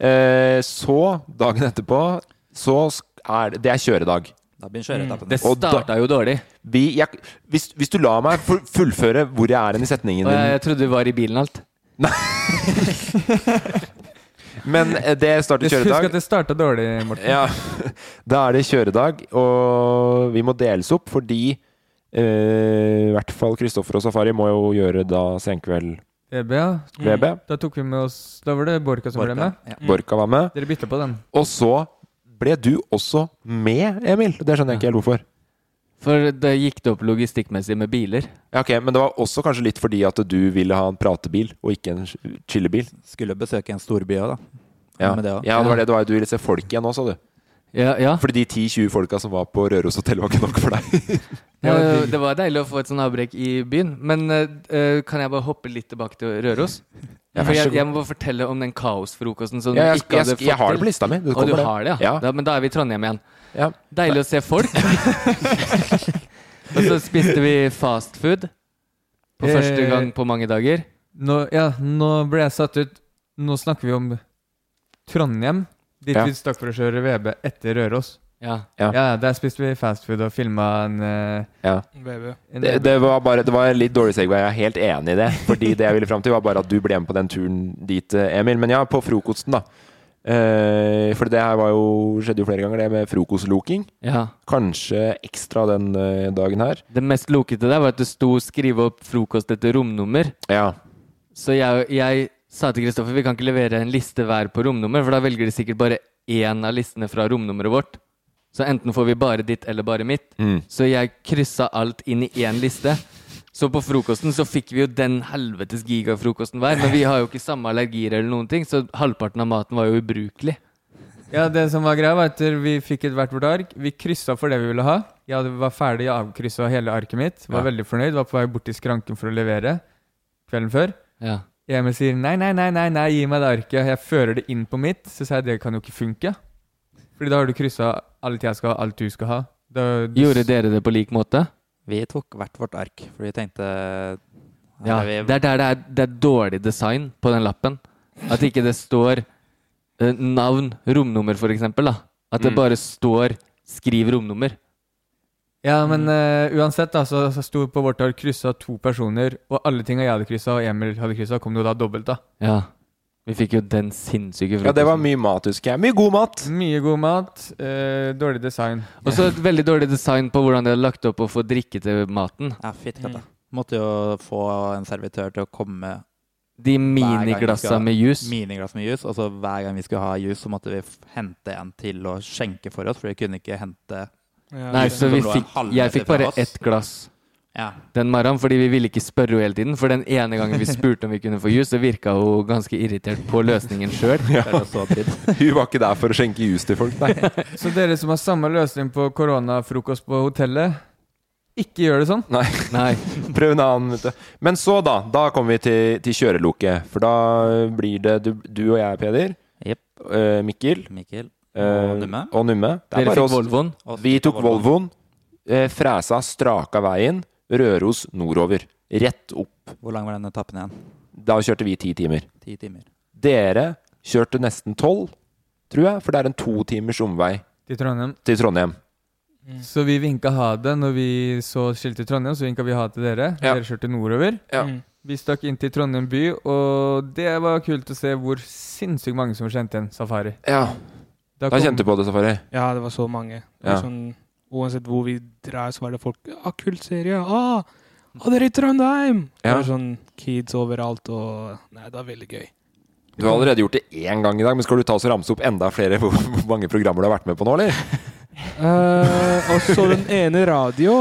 A: Eh, så, dagen etterpå, så sk- er det Det er kjøredag.
E: Da blir kjøreetappen.
C: Det
A: Og da-
C: starta jo dårlig.
A: Vi, jeg, hvis, hvis du lar meg fu- fullføre hvor jeg er hen i setningen
C: Og jeg,
A: din
C: jeg trodde du var i bilen alt.
A: Men eh, det starter
B: Husk
A: kjøredag.
B: at det starta dårlig, Morten.
A: Ja, da er det kjøredag, og vi må deles opp fordi eh, I hvert fall Kristoffer og Safari må jo gjøre da senkveld
B: EB, ja.
A: VB.
D: Mm.
B: Da tok vi med oss Da var det Borka som ble med.
A: Mm.
E: Ja.
A: Borka var med.
B: Dere bytta på den.
A: Og så ble du også med, Emil? Det skjønner jeg ikke helt hvorfor.
C: For det gikk det opp logistikkmessig med biler.
A: Ja, ok, Men det var også kanskje litt fordi at du ville ha en pratebil, og ikke en chillebil?
E: Skulle besøke en storby òg, da.
A: Ja.
E: Med det
A: ja,
E: også.
A: det var det. Du, var, du ville se folk igjen òg, sa du.
C: Ja, ja.
A: Fordi de 10-20 folka som var på Røros hotell, var ikke nok for deg.
C: Ja, Eh, det var deilig å få et sånn avbrekk i byen. Men eh, eh, kan jeg bare hoppe litt tilbake til Røros?
A: Ja, vær
C: For jeg,
A: så god.
C: jeg må bare fortelle om den kaosfrokosten som
A: Ja, jeg sk-
C: du ikke hadde
A: jeg sk- jeg har det på lista mi. Det
C: Og
A: kommer
C: du
A: det.
C: har det, ja.
A: Ja.
C: Da, men da er vi i Trondheim igjen.
A: Ja.
C: Deilig å se folk. og så spiste vi fast food på
B: Eh,
C: første gang på mange dager.
B: Nå, ja, nå ble jeg satt ut. Nå snakker vi om Trondheim. Dit
A: Ja.
B: vi stakk for å kjøre VB etter Røros.
C: Ja.
A: Ja.
B: Ja, Der spiste vi fast food og filma en, eh,
A: Ja.
D: Baby.
B: en
A: Det, det, var bare, det var en litt dårlig segway, jeg er helt enig i det. Fordi det jeg ville fram til, var bare at du ble med på den turen dit, eh, Emil. Men ja, på frokosten, da. Eh, for det her var jo, skjedde jo flere ganger, det med frokostloking.
C: ja.
A: Kanskje ekstra den eh, dagen her.
C: Det mest lokete der var at det sto 'skrive opp frokost etter romnummer'.
A: Ja.
C: Så jeg, jeg sa til Kristoffer vi kan ikke levere en liste hver på romnummer, for da velger de sikkert bare én av listene fra romnummeret vårt. Så enten får vi bare ditt eller bare mitt.
A: Mm.
C: Så jeg kryssa alt inn i én liste. Så på frokosten så fikk vi jo den helvetes gigafrokosten hver, men vi har jo ikke samme allergier eller noen ting, så halvparten av maten var jo ubrukelig.
B: Ja, det som var greia var at vi fikk et hvert vårt ark. Vi kryssa for det vi ville ha. Jeg hadde- var ferdig, jeg avkryssa hele arket mitt. Var
A: Ja.
B: veldig fornøyd. Var på vei bort til skranken for å levere kvelden før.
C: Ja.
B: Emil sier nei, nei, nei, nei, nei, gi meg det arket. Jeg fører det inn på mitt. Så sa jeg det kan jo ikke funke. Fordi da har du kryssa alt jeg skal ha, alt du skal ha. Da, du,
C: Gjorde dere det på lik måte?
E: Vi tok hvert vårt ark, for vi tenkte
C: Ja,
E: vi,
C: det er der det er, det er dårlig design på den lappen. At ikke det står eh, navn, romnummer for eksempel, da. At det
A: Mm.
C: bare står 'skriv romnummer'.
B: Ja, men eh, uansett, da, så, så sto på vårt ark kryssa to personer, og alle tinga jeg hadde kryssa, og Emil hadde kryssa, kom det jo da dobbelt, da.
C: Ja. Vi fikk jo den sinnssyke frokosten.
A: ja, det var mye mat, husker jeg. Mye god mat!
B: Mye god mat, eh, dårlig design.
C: Og så et veldig dårlig design på hvordan de hadde lagt opp å få drikke til maten.
E: Ja, fytti katta. Måtte jo få en servitør til å komme
C: De
E: gang vi
C: miniglassa
E: skal-
C: med juice.
E: miniglass med juice. Og så altså hver gang vi skulle ha juice, så måtte vi f- hente en til å skjenke for oss. For vi kunne ikke hente
D: Ja,
C: Nei,
D: det-
C: så vi
E: som lå en
C: fikk,
E: halvmeter
C: jeg fikk bare
E: fra oss.
C: ett glass
E: Ja.
C: den morgenen, fordi vi ville ikke spørre henne hele tiden. For den ene gangen vi spurte om vi kunne få juice, så virka hun ganske irritert på løsningen sjøl.
E: Det er jo så dritt.
A: Hun var ikke der for å skjenke juice til folk, nei.
B: Så dere som har samme løsning på koronafrokost på hotellet, ikke gjør det sånn.
A: nei.
C: Nei.
A: Prøv en annen, vet du. Men så, da. Da kommer vi til, til kjøreloket. For da blir det du, du og jeg, Peder.
E: Jepp.
A: eh, Mikkel.
E: Mikkel.
A: eh,
E: Og Numme.
A: og Numme. Det er
C: Dere
A: bare
C: fikk
A: oss-
C: Volvoen.
E: Og
A: Vi tok
E: og
A: Volvoen, eh, fresa straka veien, Røros nordover. Rett opp.
E: Hvor lang var den etappen igjen?
A: Da kjørte vi ti timer.
E: Ti timer.
A: Dere kjørte nesten tolv, tror jeg, for det er en to timers omvei
B: Til Trondheim.
A: til Trondheim.
D: Mm.
B: Så vi vinka ha det når vi så skiltet i Trondheim, så vinka vi ha det til dere.
A: Ja.
B: Dere kjørte nordover.
A: Ja.
D: Mm.
B: Vi stakk inn til Trondheim by, og det var kult å se hvor sinnssykt mange som kjente en safari.
A: Ja, Da
B: kom-
A: kjente du på det, Safari.
D: ja, det var så mange. Det var
A: Ja.
D: sånn, uansett hvor vi drar, så var det folk ah, 'Kult serie! Ah, ah, dere er i Trondheim!'
A: Ja.
D: Det var sånn kids overalt, og Nei, det var veldig gøy.
A: Du har allerede gjort det én gang i dag, men skal du ta oss og ramse opp enda flere hvor hvor mange programmer du har vært med på nå, eller?
D: Eh, og så den ene radio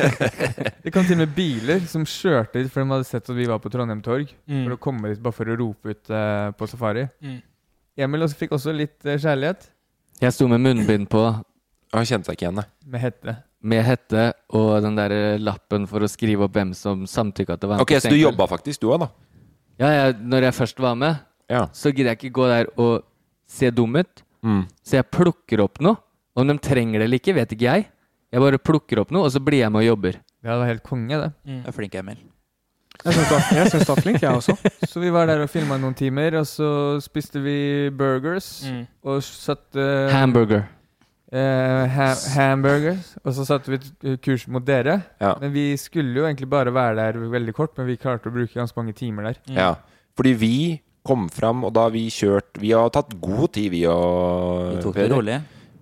B: Det kom til og med biler som kjørte dit, for de hadde sett at vi var på Trondheim torg. For å komme dit bare for å rope ut eh, på safari.
D: Mm.
B: Emil også fikk også litt eh, kjærlighet.
C: Jeg sto med munnbind på,
A: Han kjente seg ikke igjen, nei.
B: Med hette.
C: med hette og den der eh, lappen for å skrive opp hvem som samtykka til å være med.
A: Ok,
C: på
A: så du
C: senkveld.
A: jobba faktisk, du òg, da?
C: Ja, jeg, når jeg først var med,
A: Ja.
C: så gidder jeg ikke gå der og se dum ut.
A: Mm.
C: Så jeg plukker opp noe. Om de trenger det eller ikke, vet ikke jeg. Jeg bare plukker opp noe, og så blir jeg med og jobber.
B: Ja, det var helt konge, det.
E: Du er flink, Emil.
D: Jeg syns du var- jeg syns du var flink, jeg også.
B: Så vi var der og filma noen timer, og så spiste vi burgers.
E: Mm.
B: Og satt eh,
C: Hamburger.
B: eh, ha Hamburgers. Og så satte vi t- kurs mot dere.
A: Ja.
B: Men vi skulle jo egentlig bare være der veldig kort, men vi klarte å bruke ganske mange timer der.
E: Mm.
A: Ja, fordi vi kom fram, og da har vi kjørt Vi har tatt god tid, vi og
E: Vi tok det
A: Peder.
E: rolig.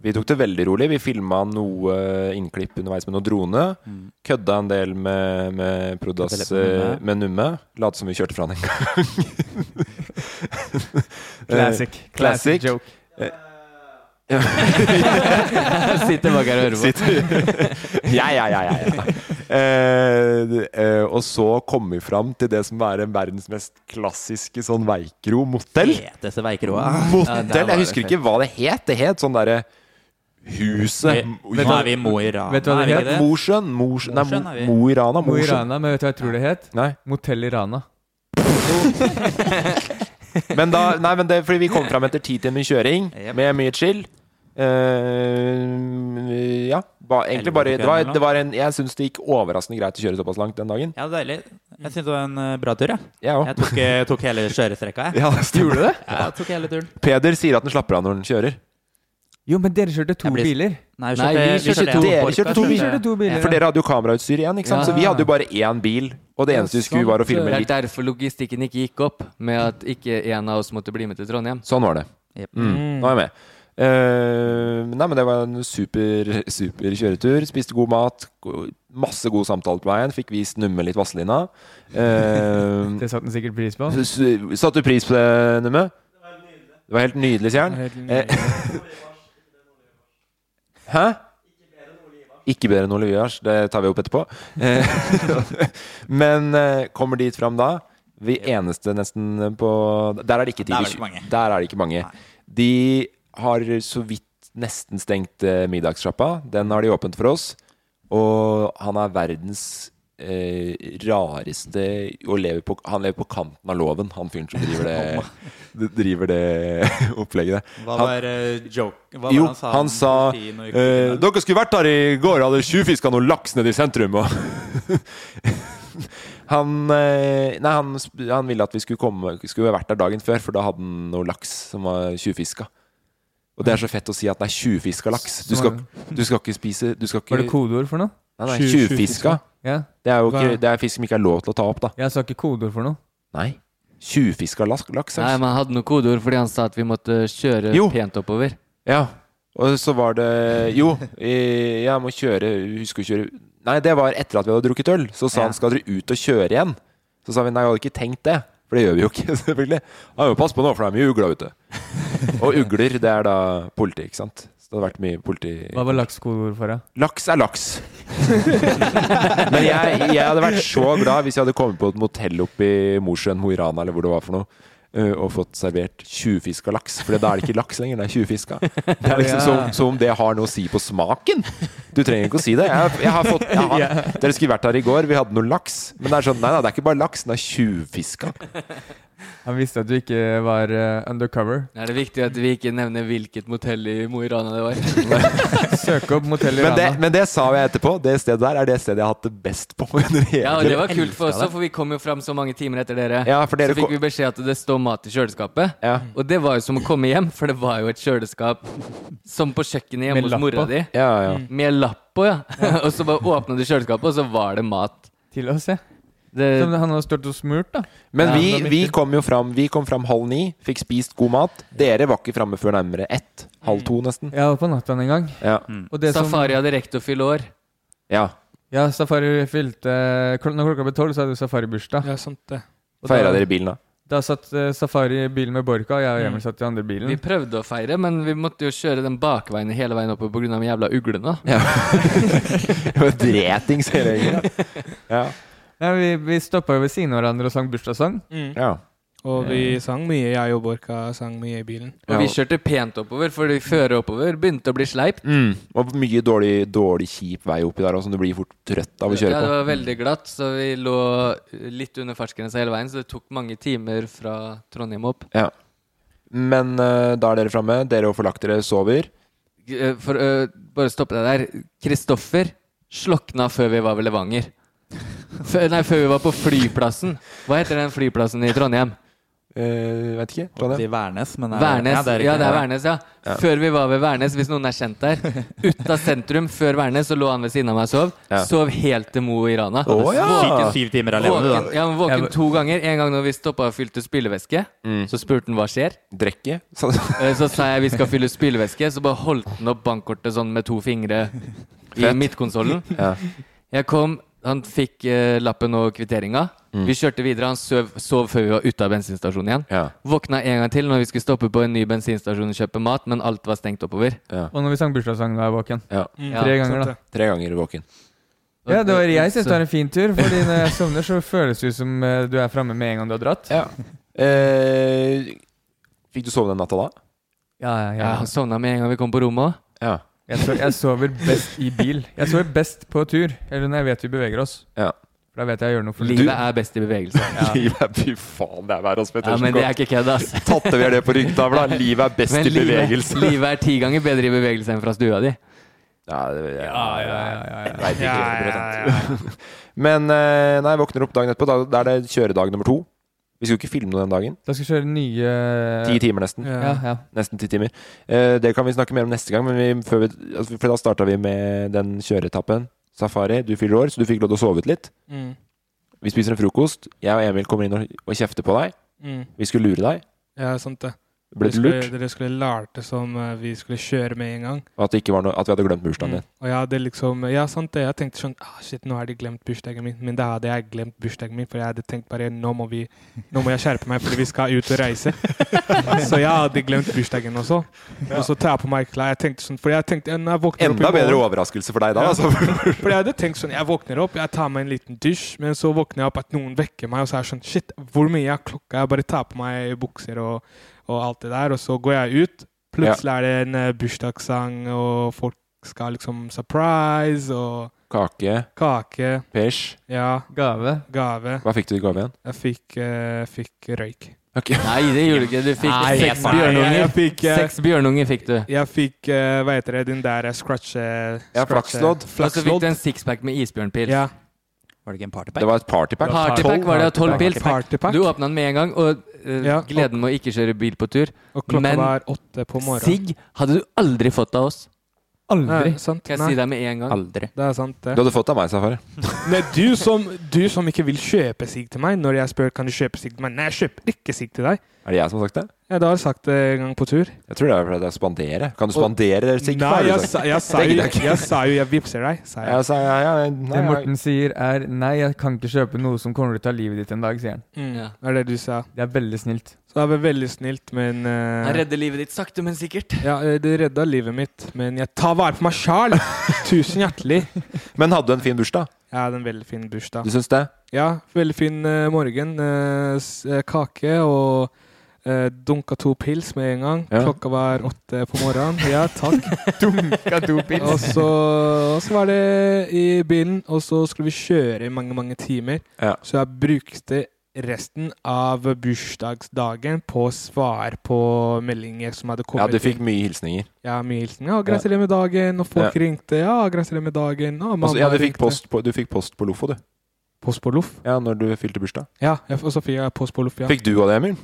A: Vi tok det veldig rolig. Vi filma noe eh, innklipp underveis med noen drone.
E: Mm.
A: Kødda en del med, med Prodas
E: Kødda litt med
A: eh, med Numme. Lot som vi kjørte fra han en gang. Eh,
B: Classic.
A: Classic.
B: joke.
C: Sitter bak her og hører på.
A: ja, ja, ja, ja, ja. Eh, eh, og så kom vi fram til det som er en verdens mest klassiske sånn veikro-motell.
E: Feteste veikroa. Ja, der
A: Motell,
E: var
A: Jeg
E: det
A: husker
E: fett.
A: ikke hva det het. Det het sånn derre Huset
E: Vi- Nå er vi i Mo i Rana.
B: Vet du
E: er
B: hva
E: vi
B: det
E: ikke
B: het?
A: Mosjøen? Mors- Nei,
E: Mosjøen er vi.
A: Mo i Rana.
B: Mo i
A: Mosjøen.
B: Rana, men vet du hva jeg tror det het?
A: Nei.
B: Motell i Rana.
A: Men da, nei, men det er fordi vi kom fram etter ti timer kjøring
E: Jep.
A: med mye chill. Eh, ja. Ba, egentlig bare det var, det var en, Jeg syns det gikk overraskende greit å kjøre såpass langt den dagen.
E: Ja, deilig. Jeg syns det var en eh, bra tur, jeg.
A: Jeg òg.
E: Jeg tok, eh, tok hele kjørestrekka, jeg.
A: Ja, gjorde du det?
E: Ja, jeg tok hele turen.
A: Peder sier at han slapper av når han kjører.
B: Jo, men dere kjørte to
E: Jeg blir-
B: biler.
E: Nei,
C: Nei, vi kjørte to.
A: Dere Eh, kjørte to,
B: Vi kjørte to biler.
A: For dere hadde jo kamerautstyr igjen, ikke sant?
C: Ja.
A: så
C: sånn.
A: vi hadde jo bare én bil. Og det
B: Ja,
A: eneste vi skulle, var å
B: sant.
A: filme
C: Det er
A: litt.
C: derfor logistikken ikke gikk opp, med at ikke en av oss måtte bli med til Trondheim.
A: Sånn var det.
E: Jep.
A: Mm. Nå er jeg med. Eh, nei, men det var en super, super kjøretur. Spiste god mat. go- Masse god samtale på veien. Fikk vist Numme litt Vazelina. Eh,
B: Det satte han sikkert pris på.
A: s- s- Satte du pris på det, Numme? Det var helt nydelig, sier han. Eh, Hæ? Ikke bedre enn Ole Ivars. Det tar vi opp etterpå. Eh, Men eh, kommer dit fram da. Vi eneste nesten på Der er det ikke
E: Der er det
A: tidlig-
E: ikke mange.
A: Der er det ikke mange. De har så vidt nesten stengt eh, middagssjappa. Den har de åpent for oss. Og han er verdens eh, rareste og lever på, Han lever på kanten av loven, han fyren som driver det, driver det opplegget der.
E: Hva
A: Han-
E: var eh, joke? Hva
A: jo,
E: var det
A: han
E: om
A: sa
E: politiet når-
A: eh, Dere skulle vært her i går, hadde tjuvfiska noe laks nede i sentrum. Og han eh, Nei, han, sp- han ville at vi skulle, komme, skulle vært der dagen før, for da hadde han noe laks som var tjuvfiska. Og det er så fett å si at det er tjuvfiska laks. Du skal, du skal ikke spise Du skal ikke
B: Var det kodeord for noe?
A: Nei, nei,
D: Tjuv-
A: tjuvfiska.
B: Ja.
A: Det er jo ikke,
B: Hva-
A: det er fisk som ikke er lov til å ta opp, da.
B: Jeg sa ikke kodeord for noe.
A: Nei. Tjuvfiska laks. laks altså.
C: Nei,
A: er-
C: men han hadde noe kodeord fordi han sa at vi måtte kjøre
A: Jo.
C: pent oppover.
A: Ja. Og så var det Jo, eh, jeg må kjøre Husker å kjøre Nei, det var etter at vi hadde drukket øl. Så sa han skal dere ut og kjøre igjen? Så sa vi nei, jeg hadde ikke tenkt det. For det gjør vi jo ikke, selvfølgelig. Ja, men pass på nå, for det er mye ugler ute. Og ugler, det er da politi, ikke sant. Så det har vært mye politi
B: Hva var laks kodeord for? da?
A: Laks er laks. Men jeg, jeg hadde vært så glad hvis jeg hadde kommet på et motell oppe i Mosjøen, Mo i Rana eller hvor det var for noe, eh, og fått servert tjuvfiska laks. For da er det ikke laks lenger, det er tjuvfiska. Det er liksom som, som om det har noe å si på smaken. Du trenger ikke å si det. Jeg, jeg har fått, jeg har, dere skulle vært her i går, vi hadde noe laks. Men det er sånn, nei da, det er ikke bare laks, den er tjuvfiska.
B: Han visste at du ikke var eh, undercover.
C: Det er det viktig at vi ikke nevner hvilket motell i Mo i Rana det var.
B: Søk opp Motell i
A: Men det,
B: Rana.
A: men det sa jeg etterpå. Det stedet der er det stedet jeg har hatt det best på. under hele-
C: Ja, og det var kult for oss også, for vi kom jo fram så mange timer etter dere.
A: Ja, for dere
C: så fikk
A: kom-
C: vi beskjed at det står mat i kjøleskapet.
A: Ja.
C: Og det var jo som å komme hjem, for det var jo et kjøleskap som på kjøkkenet hjemme
B: Med
C: hos
B: lapp
C: mora
B: på.
C: di.
A: Ja, ja.
C: Med lapp på, ja. og så bare åpna du kjøleskapet, og så var det mat.
B: Til oss, ja.
C: Det,
B: Som han har stått og smurt, da.
A: Men
B: Ja,
A: vi,
B: det var
A: vi
B: viktig.
A: kom jo fram Vi kom fram halv ni, fikk spist god mat. Dere var ikke framme før nærmere ett. Halv to, nesten.
B: Jeg var på natta en gang.
A: Ja.
B: Og det som-
C: Safari hadde rekt å fylle år.
A: ja.
B: Ja, Safari fylte kl- Når klokka ble tolv, så hadde du safaribursdag.
D: Ja, sant det.
B: Og
A: Feira
B: da-
A: dere bilen, da?
B: Da satt eh, Safari i bilen med Borka, og jeg og Emil satt i andre bilen.
C: Vi prøvde å feire, men vi måtte jo kjøre den bakveien hele veien oppover pga. de jævla uglene.
A: Ja. Det var Dretings hele gjengen. Ja.
B: Nei, vi vi stoppa jo ved siden av hverandre og sang bursdagssang.
A: Ja.
D: Og vi sang mye. Jeg og Borka sang mye i bilen.
C: Og vi kjørte pent oppover, fordi føret oppover begynte å bli sleipt.
A: Mm. Og mye dårlig, dårlig kjip vei oppi der òg, som du blir fort trøtt av å
C: Ja,
A: kjøre
C: det
A: på.
C: var veldig glatt, så vi lå litt under fartsgrensa hele veien. Så det tok mange timer fra Trondheim opp.
A: Ja. Men eh, da er dere framme. Dere og forlagt dere sover.
C: G- eh, For eh, bare stoppe deg der. Kristoffer slokna før vi var ved Levanger. Før, nei, før vi var på flyplassen. Hva heter den flyplassen i Trondheim?
A: Eh, vet ikke.
E: Det
A: Trondheim.
E: er Værnes, men det er-
C: Værnes.
E: Ja, det er, ikke-
C: Ja, det er Værnes, ja. Før vi var ved Værnes, hvis noen er kjent der. Ut av sentrum, før Værnes, så lå han ved siden av meg og sov.
A: Ja.
C: Sov helt til Mo i Rana.
A: Å ja!
E: Syke syv timer alene, du,
C: Våken,
E: da.
C: ja, men våken to ganger. En gang når vi stoppa og fylte spylevæske,
E: Mm.
C: så spurte han hva skjer.
A: Drekke. Så,
C: Eh, Så sa jeg vi skal fylle spylevæske, så bare holdt han opp bankkortet sånn med to fingre i
A: Fett.
C: midtkonsollen.
A: Ja.
C: Jeg kom, han fikk eh, lappen og kvitteringa.
A: Mm.
C: Vi kjørte videre. Han sov, sov før vi var ute av bensinstasjonen igjen.
A: Ja.
C: Våkna en gang til når vi skulle stoppe på en ny bensinstasjon og kjøpe mat, men alt var stengt oppover.
B: Og når vi sang bursdagssangen, var jeg våken.
A: Ja.
D: Mm.
C: Ja.
B: Tre ganger, da.
A: Tre ganger våken.
B: Ja, det var jeg synes det var en fin tur, Fordi når jeg sovner, så føles det ut som eh, du er framme med en gang du har dratt.
A: Ja. Eh, fikk du sove den natta da?
B: Ja, ja,
C: Ja, han sovna med en gang vi kom på rommet òg.
A: Ja.
B: Jeg, so jeg sover best i bil. Jeg sover best på tur, eller når jeg vet vi beveger oss.
A: Ja.
B: For da vet jeg jeg gjør noe for
C: Livet er best i bevegelse.
B: Ja.
A: Livet er Fy faen, det er Wærås
C: Ja,
A: Pettersen.
C: men det er ikke kødd, ass.
A: Tatoverer det på ryggtavla. Livet er best
C: Men
A: i bevegelse.
C: livet er ti ganger bedre i bevegelse enn fra stua di.
A: Ja, det, ja,
B: ja,
A: Jeg vet ikke helt prosent. Men eh, nei, jeg våkner opp dagen etterpå. Da, da er det kjøredag nummer to. Vi skulle ikke filme noe den dagen.
B: Da skal jeg kjøre nye
A: Ti timer, nesten.
B: Eh, Ja, ja.
A: Nesten ti timer. Eh, det kan vi snakke mer om neste gang, men vi, før vi, altså, for da starta vi med den kjøreetappen. Safari, du fyller år, så du fikk lov til å sove ut litt.
D: Mm.
A: Vi spiser en frokost. Jeg og Emil kommer inn og, og kjefter på deg.
D: Mm.
A: Vi skulle lure deg.
D: Ja, sant det.
A: Ble
D: dere
A: du
D: skulle,
A: lurt?
D: Dere skulle lært det som eh, vi skulle kjøre med en gang.
A: Og at, det ikke var noe, at vi hadde glemt bursdagen
D: Mm.
A: din.
D: Og jeg hadde liksom Ja, sant det. Jeg tenkte sånn ah, Shit, nå har de glemt bursdagen min. Men da hadde jeg glemt bursdagen min, for jeg hadde tenkt bare Nå må, vi, nå må jeg skjerpe meg, fordi vi skal ut og reise. så jeg hadde glemt bursdagen også. Og så tar jeg på meg klær. Jeg tenkte sånn For jeg tenkte ja, når jeg våkner opp i
A: Enda bedre
D: morgen-
A: overraskelse for deg da,
D: Ja.
A: altså.
D: For jeg hadde tenkt sånn, jeg våkner opp, jeg tar meg en liten dusj, men så våkner jeg opp at noen vekker meg, og så er jeg sånn, shit, hvor mye er klokka? Jeg bare tar på meg bukser og, og alt det der, og så går jeg ut. Plutselig er det en eh, bursdagssang, og folk skal liksom surprise, og
A: Kake,
D: kake,
A: pysj.
D: ja,
B: Gave.
D: gave.
A: Hva fikk du i gave igjen?
D: Jeg fikk, eh, fikk røyk.
C: Nei, det gjorde du ikke. Du fikk
D: Nei,
C: seks
D: faen.
C: bjørnunger.
D: Jeg fikk, eh,
C: Seks bjørnunger fikk du.
D: Jeg fikk, eh, hva heter det, den der scratch... eh,
A: Ja,
D: scratch-
A: flakslodd.
C: Og så fikk du
D: Flakslodd.
C: en sixpack med isbjørnpils.
D: Ja,
E: Var det ikke en
A: Det
E: partypack?
A: var et partypack.
C: Partypack var det, og tolv pils.
D: Partypack.
C: Du åpna den med en gang, og eh,
D: Ja.
C: gleden med å ikke kjøre bil på tur.
D: og klokka
C: Men-
D: var åtte på morgenen.
C: Sigg hadde du aldri fått av oss.
D: Nei,
B: Aldri.
D: sant?
C: Skal jeg
D: Nei,
C: si deg med en gang.
E: Aldri.
D: det er sant det.
A: Du hadde fått av meg, Safari.
D: Nei, du som, du som ikke vil kjøpe sigg til meg, når jeg spør kan du kjøpe sigg til meg Nei, jeg kjøper ikke sigg til deg.
A: Er det jeg som har sagt det?
D: Ja, da har jeg sagt det en gang på tur.
A: Jeg tror det er fordi jeg spanderer. Kan du spandere sigg på
D: Nei,
A: meg? har du
D: jeg
A: sagt?
D: sa, jeg, sa
A: Det
D: jo,
A: gidder jeg ikke.
D: jeg sa jo jeg vippser deg, sa jeg.
A: Jeg sa ja, ja, ja, nei,
B: Det
A: ja.
B: Morten sier er nei, jeg kan ikke kjøpe noe som kommer til å ta livet ditt en dag, sier han.
D: Mm,
C: Ja.
D: Det er det du sa.
B: Det er veldig snilt.
D: Så det var veldig snilt, men eh,
C: Han redder livet ditt sakte, men sikkert.
D: ja, eh, Det redda livet mitt, men jeg tar vare på meg sjæl! Tusen hjertelig.
A: Men hadde du en fin bursdag?
D: Jeg hadde en veldig fin bursdag.
A: Du syns det?
D: Ja, veldig fin eh, morgen. eh, s- eh, kake og eh, dunka to pils med en gang.
A: Ja.
D: Klokka var åtte på morgenen. Ja, takk.
B: Dunka to
D: Og
B: pils.
D: så, og så var det i bilen, og så skulle vi kjøre i mange, mange timer.
A: Ja.
D: Så jeg brukte resten av bursdagsdagen på å svare på meldinger som hadde
A: Ja,
D: kommet
A: du fikk
D: inn.
A: mye hilsninger.
D: Ja, mye hilsen. Ja, gratulerer med dagen. Og folk
A: Ja.
D: ringte. Ja, gratulerer med dagen. Og mamma
A: Altså, ja, du fikk
D: ringte.
A: post på, du fikk post på Lofo, du.
D: Post på loff.
A: Ja, når du fylte bursdag.
D: Ja, jeg- og så fikk jeg post på loff, ja.
A: Fikk du òg det, Emil?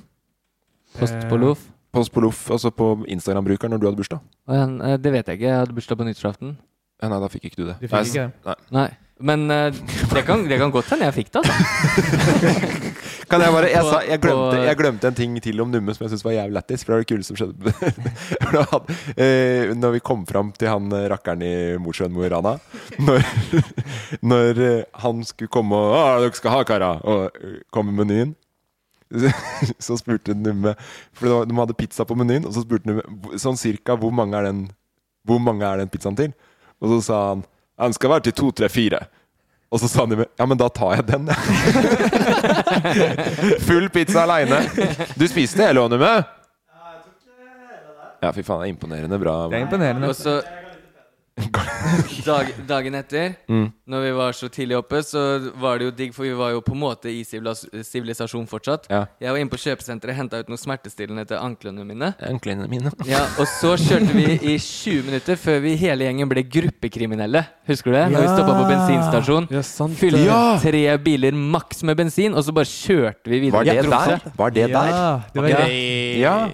C: Post
D: Eh,
C: på loff.
A: Post på Lof, altså på Instagram-brukeren når du hadde bursdag?
C: Og han, eh, Det vet jeg ikke. Jeg hadde bursdag på nyttårsaften.
A: Ja, nei, da fikk ikke du det.
B: Du fikk
A: Nei,
B: ikke det.
C: Nei. Men eh, det kan, det kan godt hende jeg fikk det. Altså.
A: Kan jeg bare Jeg, sa, jeg,
C: På-
A: glemte, jeg glemte en ting til om Numme som jeg syntes var jævlig lættis. For det var det kule som skjedde. For da hadde, eh, når vi kom fram til han eh, rakkeren i Mosjøen, Mo i Rana Når, når eh, han skulle komme og Å, dere skal ha, kara! Og eh, komme med menyen. så- Så spurte Numme For det var, de hadde pizza på menyen, og så spurte Numme "Hvor- sånn cirka hvor mange er den, hvor mange er den pizzaen til? Og så sa han "Ja, Den skal være til to, tre, fire. Og så sa Numme ja, men da tar jeg den, jeg. Full pizza aleine. Du spiste hele ånden med? Ja, fy faen, det er imponerende bra.
B: Det er imponerende.
C: Og så dag, Dagen etter, når vi var så tidlig oppe, så var det jo digg, for vi var jo på en måte i sivilas- sivilisasjon fortsatt.
A: Ja.
C: Jeg var inne på kjøpesenteret, henta ut noen smertestillende til anklene mine.
A: Anklene mine.
C: Ja, Og så kjørte vi i 20 minutter før vi hele gjengen ble gruppekriminelle. Husker du det? Når vi stoppa på bensinstasjon.
D: Ja, sant. det.
C: Fylte
A: Ja!
C: tre biler maks med bensin, og så bare kjørte vi videre.
A: Var det
C: Jeg dro
A: der?
C: seg.
A: Var det der?
B: Ja, det var
C: Ja.
B: det.
A: Ja.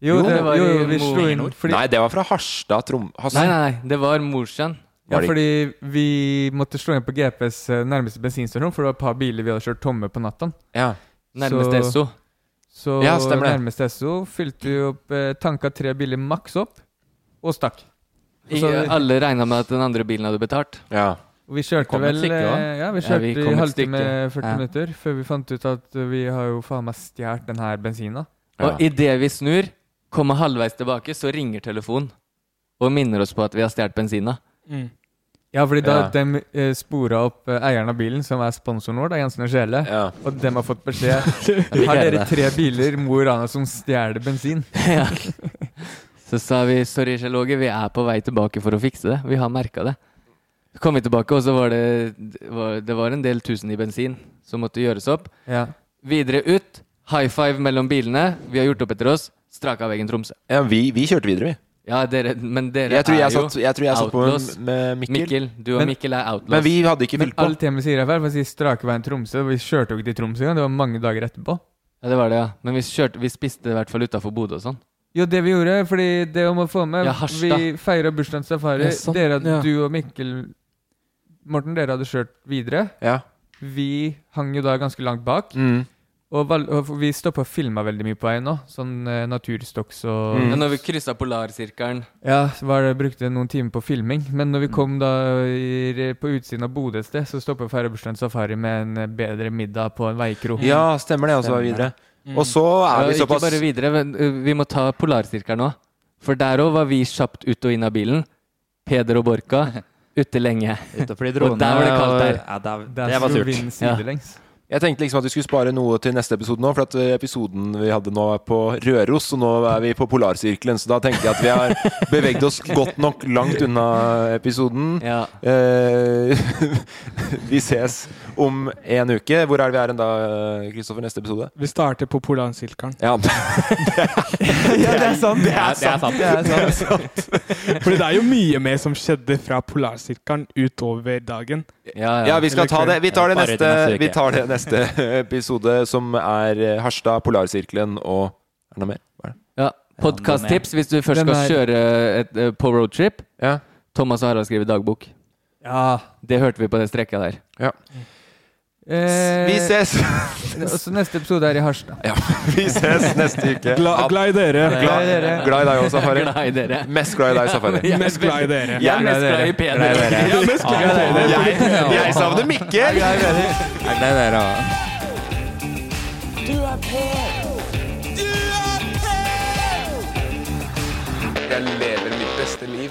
B: Jo,
C: Jo,
B: det,
C: det var
B: jo,
C: i
B: vi
C: Mo-
B: slo inn fordi,
A: Nei, det var fra Harstad, Trom...
C: Nei, nei, nei. Det var Mosjøen.
B: ja,
A: Var det-
B: fordi vi måtte slå inn på GPS eh, nærmeste bensinstasjon, for det var et par biler vi hadde kjørt tomme på natta.
A: Ja.
C: Nærmeste
B: Så-
C: Esso.
B: Så
A: Ja, stemmer det.
B: nærmeste SO fylte vi opp eh, tanka tre biler maks opp, og stakk.
C: Alle regna med at den andre bilen hadde betalt.
A: ja.
B: Og vi kjørte
C: kom et
B: vel eh,
C: stykke,
B: Ja,
C: da.
B: vi
C: Ja, vi
B: kjørte
C: kom
B: i
C: et
B: halvtime
C: stykke.
B: 40
C: Ja.
B: minutter før vi fant ut at eh, vi har jo faen meg stjålet den her bensina.
C: Og idet vi snur, kommer halvveis tilbake, så ringer telefonen og minner oss på at vi har stjålet bensina.
B: Mm. Ja, fordi da
C: Ja.
B: de eh, spora opp eh, eieren av bilen, som er sponsoren vår, da, Jensen og Sjele, og de har fått beskjed
C: Vi
B: Har
C: gleder
B: dere
C: deg.
B: tre biler, Mo i Rana, som stjeler bensin?
C: Ja. Så sa vi sorry, Kjelloge, vi er på vei tilbake for å fikse det. Vi har merka det. Så kom vi tilbake, og så var det, var, det var en del tusen i bensin som måtte gjøres opp.
B: Ja.
C: Videre ut. High five mellom bilene. Vi har gjort opp etter oss. Straka veggen Tromsø.
A: Ja, vi, vi kjørte videre, vi.
C: Ja, dere, men dere
A: Jeg tror jeg
C: er jo
A: satt- jeg tror jeg satt på en
C: outlaws.
A: med Mikkel.
C: Du og
B: Men-
C: Mikkel er outlaws.
A: Men vi hadde ikke
B: Men
A: fylt på.
B: alt Emil sier er feil, for å si Strakeveien Tromsø. Vi kjørte jo ikke til Tromsø engang, det var mange dager etterpå.
C: Ja, det var det, ja. Men vi, kjørte, vi spiste i hvert fall utafor Bodø og sånn.
B: Jo, det vi gjorde, fordi det om å få med
C: Ja, Harstad.
B: Vi feira bursdagen til Safari.
C: Ja, sånn,
B: dere,
C: ja.
B: Du og Mikkel Morten, dere hadde kjørt videre.
A: Ja.
B: Vi hang jo da ganske langt bak.
A: Mm.
B: Og, val og vi stoppa og filma veldig mye på veien nå. Sånn eh, naturstokks og
A: Mm.
C: Ja, når vi kryssa Polarsirkelen
B: Ja, så var det, brukte noen timer på filming. Men når vi kom da i, på utsiden av Bodø et sted, så stoppa Færøybursdagen Safari med en eh, bedre middag på en veikro.
A: Ja, stemmer det, og så var vi videre. Og så er vi
C: Ja,
A: såpass
C: Ikke bare videre, men uh, vi må ta Polarsirkelen òg. For der òg var vi kjapt ut og inn av bilen. Peder og Borka ute lenge.
E: Ute på de
C: og der var det
E: dronene,
C: kaldt
E: og-
C: der.
E: Ja, der-
B: Der
E: det var
B: slo
E: surt.
B: vinden
C: Ja.
B: sidelengs.
A: Jeg tenkte liksom at vi skulle spare noe til neste episode nå, for at eh, episoden vi hadde nå er på Røros, og nå er vi på Polarsirkelen, så da tenker jeg at vi har beveget oss godt nok langt unna episoden.
C: Ja.
A: Eh, vi ses om en uke. Hvor er det vi er enn da, Kristoffer? Neste episode?
D: Vi starter på Polarsilkeren.
A: Ja.
D: ja, det er sant!
E: Det er, det er sant.
D: Det er sant. Fordi det er jo mye mer som skjedde fra Polarsirkelen utover dagen.
C: Ja, ja.
A: Ja, vi skal ta det. Vi tar det
E: Bare til
A: neste,
E: neste uke.
A: vi tar det neste episode, som er eh, Harstad, Polarsirkelen og Er det noe mer? Hva er det?
C: ja. Podkasttips hvis du først
B: Den
C: skal
B: er-
C: kjøre et, uh, på roadtrip.
A: Ja.
C: Thomas og Harald skriver dagbok.
B: Ja.
C: Det hørte vi på det strekket der.
B: Eh,
A: Vi ses!
B: Og så neste episode er i Harstad.
A: Ja, vi ses neste uke.
D: Gla, glad i dere!
A: Glad, glad i deg også, Safari.
C: Glad i dere.
A: Mest glad i deg, Safari.
D: Mest glad i dere.
C: Jeg er mest
B: glad i
C: glad i
B: dere.
C: Peder.
E: Glad i dere.
D: Ja, mest glad i dere.
A: Jeg, jeg savner Mikkel!
E: Jeg gleder dere. og-
A: Jeg lever mitt beste liv.